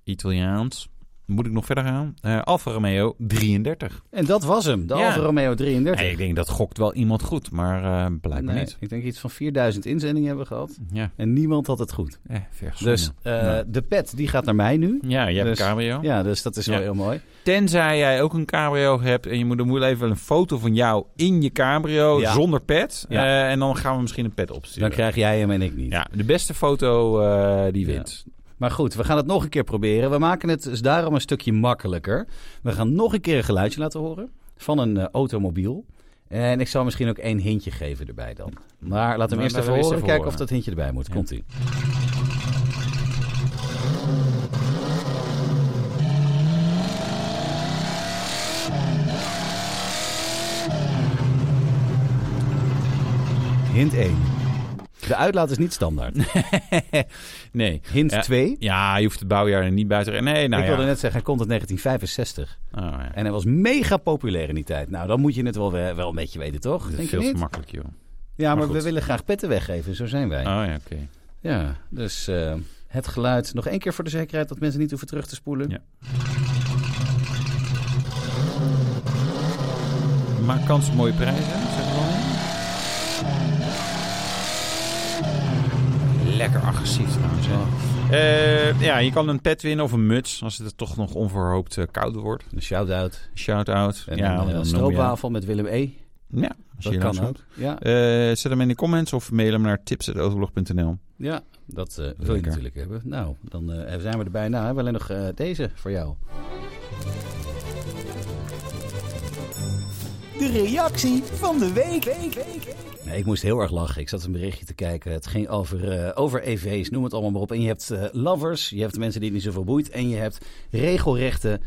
[SPEAKER 1] Italiaans. Moet ik nog verder gaan? Eh Alfa Romeo 33.
[SPEAKER 2] En dat was hem, de
[SPEAKER 1] Ja.
[SPEAKER 2] Alfa Romeo 33.
[SPEAKER 1] Nee, ik denk dat gokt wel iemand goed, maar eh blijkbaar
[SPEAKER 2] Nee,
[SPEAKER 1] niet.
[SPEAKER 2] Ik denk iets van 4000 inzendingen hebben we gehad.
[SPEAKER 1] Ja,
[SPEAKER 2] En niemand had het goed.
[SPEAKER 1] eh, ver
[SPEAKER 2] Dus
[SPEAKER 1] gezonde.
[SPEAKER 2] eh,
[SPEAKER 1] Nee.
[SPEAKER 2] de pet, die gaat naar mij nu.
[SPEAKER 1] ja, je hebt
[SPEAKER 2] dus-
[SPEAKER 1] een cabrio.
[SPEAKER 2] Ja, dus dat is wel
[SPEAKER 1] Ja.
[SPEAKER 2] heel mooi.
[SPEAKER 1] Tenzij jij ook een cabrio hebt en je moet, dan moet je even een foto van jou in je cabrio
[SPEAKER 2] Ja.
[SPEAKER 1] zonder pet.
[SPEAKER 2] Ja.
[SPEAKER 1] Eh, en dan gaan we misschien een pet
[SPEAKER 2] Dan
[SPEAKER 1] opsturen.
[SPEAKER 2] krijg jij hem en ik niet.
[SPEAKER 1] Ja, de beste foto eh, die wint.
[SPEAKER 2] Maar goed, we gaan het nog een keer proberen. We maken het dus daarom een stukje makkelijker. We gaan nog een keer een geluidje laten horen van een eh, automobiel. En ik zal misschien ook één hintje geven erbij dan. Maar laat hem
[SPEAKER 1] Maar
[SPEAKER 2] eerst
[SPEAKER 1] laten
[SPEAKER 2] even
[SPEAKER 1] we eerst
[SPEAKER 2] horen.
[SPEAKER 1] even
[SPEAKER 2] Kijken of
[SPEAKER 1] horen.
[SPEAKER 2] dat hintje erbij moet. Komt ie. Hint 1. De uitlaat is niet standaard.
[SPEAKER 1] Nee.
[SPEAKER 2] Hint
[SPEAKER 1] Ja.
[SPEAKER 2] 2.
[SPEAKER 1] Ja, je hoeft het bouwjaar er niet buiten. te- Nee, nou
[SPEAKER 2] ik
[SPEAKER 1] ja.
[SPEAKER 2] wilde net zeggen, hij komt uit 1965.
[SPEAKER 1] Oh, ja.
[SPEAKER 2] En hij was mega populair in die tijd. Nou, dan moet je het wel, we- wel een beetje weten, toch?
[SPEAKER 1] Dat
[SPEAKER 2] Denk
[SPEAKER 1] is
[SPEAKER 2] je
[SPEAKER 1] veel te
[SPEAKER 2] niet?
[SPEAKER 1] makkelijk, joh.
[SPEAKER 2] Ja, maar
[SPEAKER 1] maar
[SPEAKER 2] we
[SPEAKER 1] goed.
[SPEAKER 2] willen graag petten weggeven. Zo zijn wij.
[SPEAKER 1] Oh ja, oké.
[SPEAKER 2] Ja, dus eh, het geluid. Nog één keer voor de zekerheid dat mensen niet hoeven terug te spoelen.
[SPEAKER 1] Ja. Maak kans op mooie prijzen, zeg maar. Lekker agressief trouwens. hè. Eh, ja, je kan een pet winnen of een muts als het toch nog onverhoopt eh, koud wordt.
[SPEAKER 2] Een shout-out.
[SPEAKER 1] Shout-out.
[SPEAKER 2] En
[SPEAKER 1] ja,
[SPEAKER 2] een, eh,
[SPEAKER 1] dan noem je-
[SPEAKER 2] stroopwafel met Willem E.
[SPEAKER 1] Ja, als
[SPEAKER 2] Dat
[SPEAKER 1] je
[SPEAKER 2] kan
[SPEAKER 1] langs
[SPEAKER 2] ook. Ja,
[SPEAKER 1] Eh, zet hem in de comments of mail hem naar tips.autoblog.nl.
[SPEAKER 2] ja, dat eh, wil je
[SPEAKER 1] Lekker.
[SPEAKER 2] natuurlijk hebben. Nou, dan eh, zijn we er bijna. We hebben alleen nog eh, deze voor jou.
[SPEAKER 4] De reactie van de week. week, week, week.
[SPEAKER 2] Nee, ik moest heel erg lachen. Ik zat een berichtje te kijken. Het ging over, eh, over EV's, noem het allemaal maar op. En je hebt eh, lovers, je hebt mensen die het niet zoveel boeit. En je hebt regelrechte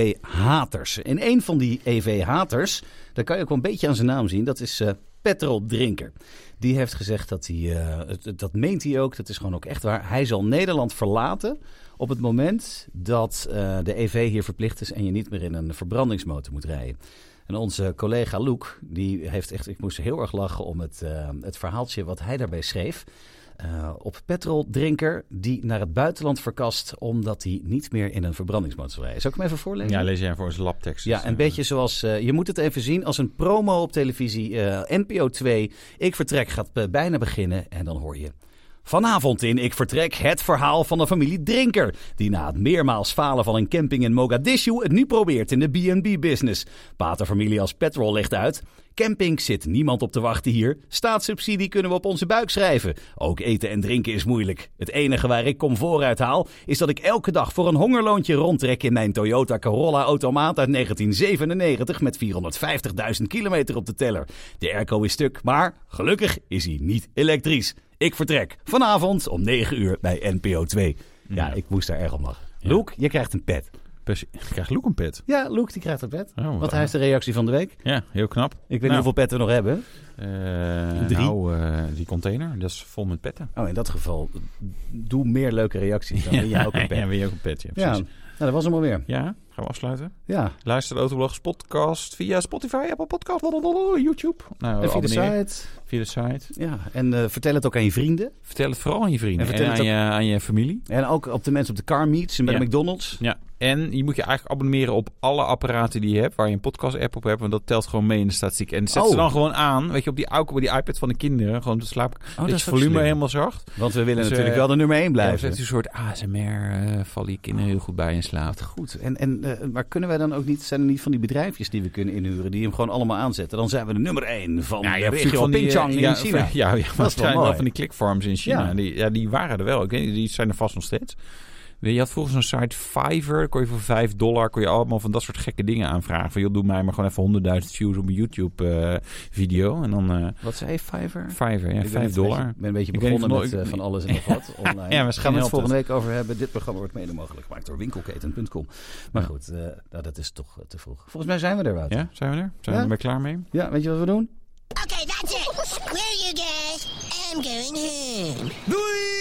[SPEAKER 2] EV-haters. En een van die EV-haters, daar kan je ook wel een beetje aan zijn naam zien. Dat is eh Petrol Drinker. Die heeft gezegd dat hij, eh, het- het- dat meent hij ook, dat is gewoon ook echt waar. Hij zal Nederland verlaten op het moment dat eh, de EV hier verplicht is... en je niet meer in een verbrandingsmotor moet rijden. En onze collega Loek, die heeft echt, ik moest heel erg lachen om het, eh, het verhaaltje wat hij daarbij schreef. Eh, op petroldrinker die naar het buitenland verkast omdat hij niet meer in een verbrandingsmotor zou rijden. Zal ik hem even voorlezen?
[SPEAKER 1] Ja, lees jij voor Dus, eens labtekst.
[SPEAKER 2] Ja, een beetje zoals, eh, je moet het even zien als een promo op televisie. eh, NPO 2, Ik Vertrek gaat eh, bijna beginnen en dan hoor je... Vanavond in Ik Vertrek het verhaal van de familie Drinker. Die na het meermaals falen van een camping in Mogadishu het nu probeert in de B&B-business. Paterfamilie als petrol legt uit. Camping zit niemand op te wachten hier. Staatssubsidie kunnen we op onze buik schrijven. Ook eten en drinken is moeilijk. Het enige waar ik comfort uit haal is dat ik elke dag voor een hongerloontje rondtrek in mijn Toyota Corolla automaat uit 1997 met 450.000 kilometer op de teller. De airco is stuk, maar gelukkig is hij niet elektrisch. Ik vertrek vanavond om 9 uur bij NPO 2. Ja, ik moest daar erg om lachen. Loek, je krijgt een pet.
[SPEAKER 1] Persie- Ik krijg Loek een pet.
[SPEAKER 2] Ja, Loek die krijgt een pet.
[SPEAKER 1] Oh,
[SPEAKER 2] want
[SPEAKER 1] wat-
[SPEAKER 2] hij heeft de reactie van de week.
[SPEAKER 1] Ja, heel knap.
[SPEAKER 2] Ik weet
[SPEAKER 1] Nou.
[SPEAKER 2] niet hoeveel petten we nog hebben.
[SPEAKER 1] Eh,
[SPEAKER 2] Drie.
[SPEAKER 1] Nou, eh, die container, dat is vol met petten.
[SPEAKER 2] Oh, in dat geval, doe meer leuke reacties. Dan win je ook een pet.
[SPEAKER 1] Ja,
[SPEAKER 2] Ja,
[SPEAKER 1] wil je ook een pet, ja,
[SPEAKER 2] nou,
[SPEAKER 1] precies.
[SPEAKER 2] dat was hem alweer.
[SPEAKER 1] Ja, gaan we afsluiten.
[SPEAKER 2] Ja.
[SPEAKER 1] Luister de Autoblogs podcast via Spotify, Apple Podcast, blablabla, YouTube. Nou,
[SPEAKER 2] En via de
[SPEAKER 1] abonneer.
[SPEAKER 2] site.
[SPEAKER 1] Via de site.
[SPEAKER 2] Ja. En eh, vertel het ook aan je vrienden.
[SPEAKER 1] Vertel het vooral aan je vrienden
[SPEAKER 2] En
[SPEAKER 1] en,
[SPEAKER 2] vertel
[SPEAKER 1] aan,
[SPEAKER 2] het
[SPEAKER 1] je, aan je familie.
[SPEAKER 2] En ook op de mensen op de car meets en bij de
[SPEAKER 1] Ja.
[SPEAKER 2] McDonald's.
[SPEAKER 1] Ja, en je moet je eigenlijk abonneren op alle apparaten die je hebt, waar je een podcast-app op hebt, want dat telt gewoon mee in de statistiek. En zet
[SPEAKER 2] Oh.
[SPEAKER 1] ze dan gewoon aan, weet je, op die, oude- op die iPad van de kinderen, gewoon op de slaap, Oh, dat,
[SPEAKER 2] is
[SPEAKER 1] je
[SPEAKER 2] ook
[SPEAKER 1] volume
[SPEAKER 2] slim.
[SPEAKER 1] helemaal zacht.
[SPEAKER 2] Want we willen
[SPEAKER 1] Dus,
[SPEAKER 2] natuurlijk
[SPEAKER 1] eh,
[SPEAKER 2] wel de nummer 1
[SPEAKER 1] Ja,
[SPEAKER 2] blijven.
[SPEAKER 1] zet een soort ASMR, eh vallen je kinderen heel goed bij in slaap.
[SPEAKER 2] Goed. En, en, eh, maar kunnen wij dan ook niet, zijn er niet van die bedrijfjes die we kunnen inhuren, die hem gewoon allemaal aanzetten? Dan zijn we de nummer 1 van
[SPEAKER 1] Nou,
[SPEAKER 2] de
[SPEAKER 1] je hebt
[SPEAKER 2] regio
[SPEAKER 1] natuurlijk van
[SPEAKER 2] Pyeongchang
[SPEAKER 1] die,
[SPEAKER 2] in
[SPEAKER 1] eh, ja,
[SPEAKER 2] China.
[SPEAKER 1] van- Ja, ja maar
[SPEAKER 2] wel
[SPEAKER 1] het zijn
[SPEAKER 2] mooi.
[SPEAKER 1] wel van die clickfarms in China.
[SPEAKER 2] Ja.
[SPEAKER 1] Die, ja, die waren er wel. Ik weet, niet, die zijn er vast nog steeds. Je had vroeger zo'n site Fiverr. Daar kon je voor 5 dollar kon je allemaal van dat soort gekke dingen aanvragen. Van, joh, doe mij maar gewoon even 100.000 views op een YouTube-video. en dan eh
[SPEAKER 2] Wat zei je, Fiverr?
[SPEAKER 1] Fiverr, ja,
[SPEAKER 2] Ik ben
[SPEAKER 1] 5
[SPEAKER 2] een
[SPEAKER 1] dollar.
[SPEAKER 2] beetje- Ik ben een beetje
[SPEAKER 1] Ik weet niet
[SPEAKER 2] begonnen
[SPEAKER 1] of-
[SPEAKER 2] met
[SPEAKER 1] ik-
[SPEAKER 2] eh, van alles en nog wat online.
[SPEAKER 1] Ja, misschien
[SPEAKER 2] Gaan
[SPEAKER 1] helpt
[SPEAKER 2] we het
[SPEAKER 1] het.
[SPEAKER 2] volgende week over hebben. Dit programma wordt mede mogelijk gemaakt door winkelketen.com. Maar goed, eh, nou, dat is toch eh, te vroeg. Volgens mij zijn we er, Wouter.
[SPEAKER 1] Ja, zijn we er? Zijn
[SPEAKER 2] Ja.
[SPEAKER 1] we er klaar mee?
[SPEAKER 2] ja, weet je wat we doen?
[SPEAKER 5] Okay, that's it. Screw you guys. I'm going home.
[SPEAKER 3] Doei!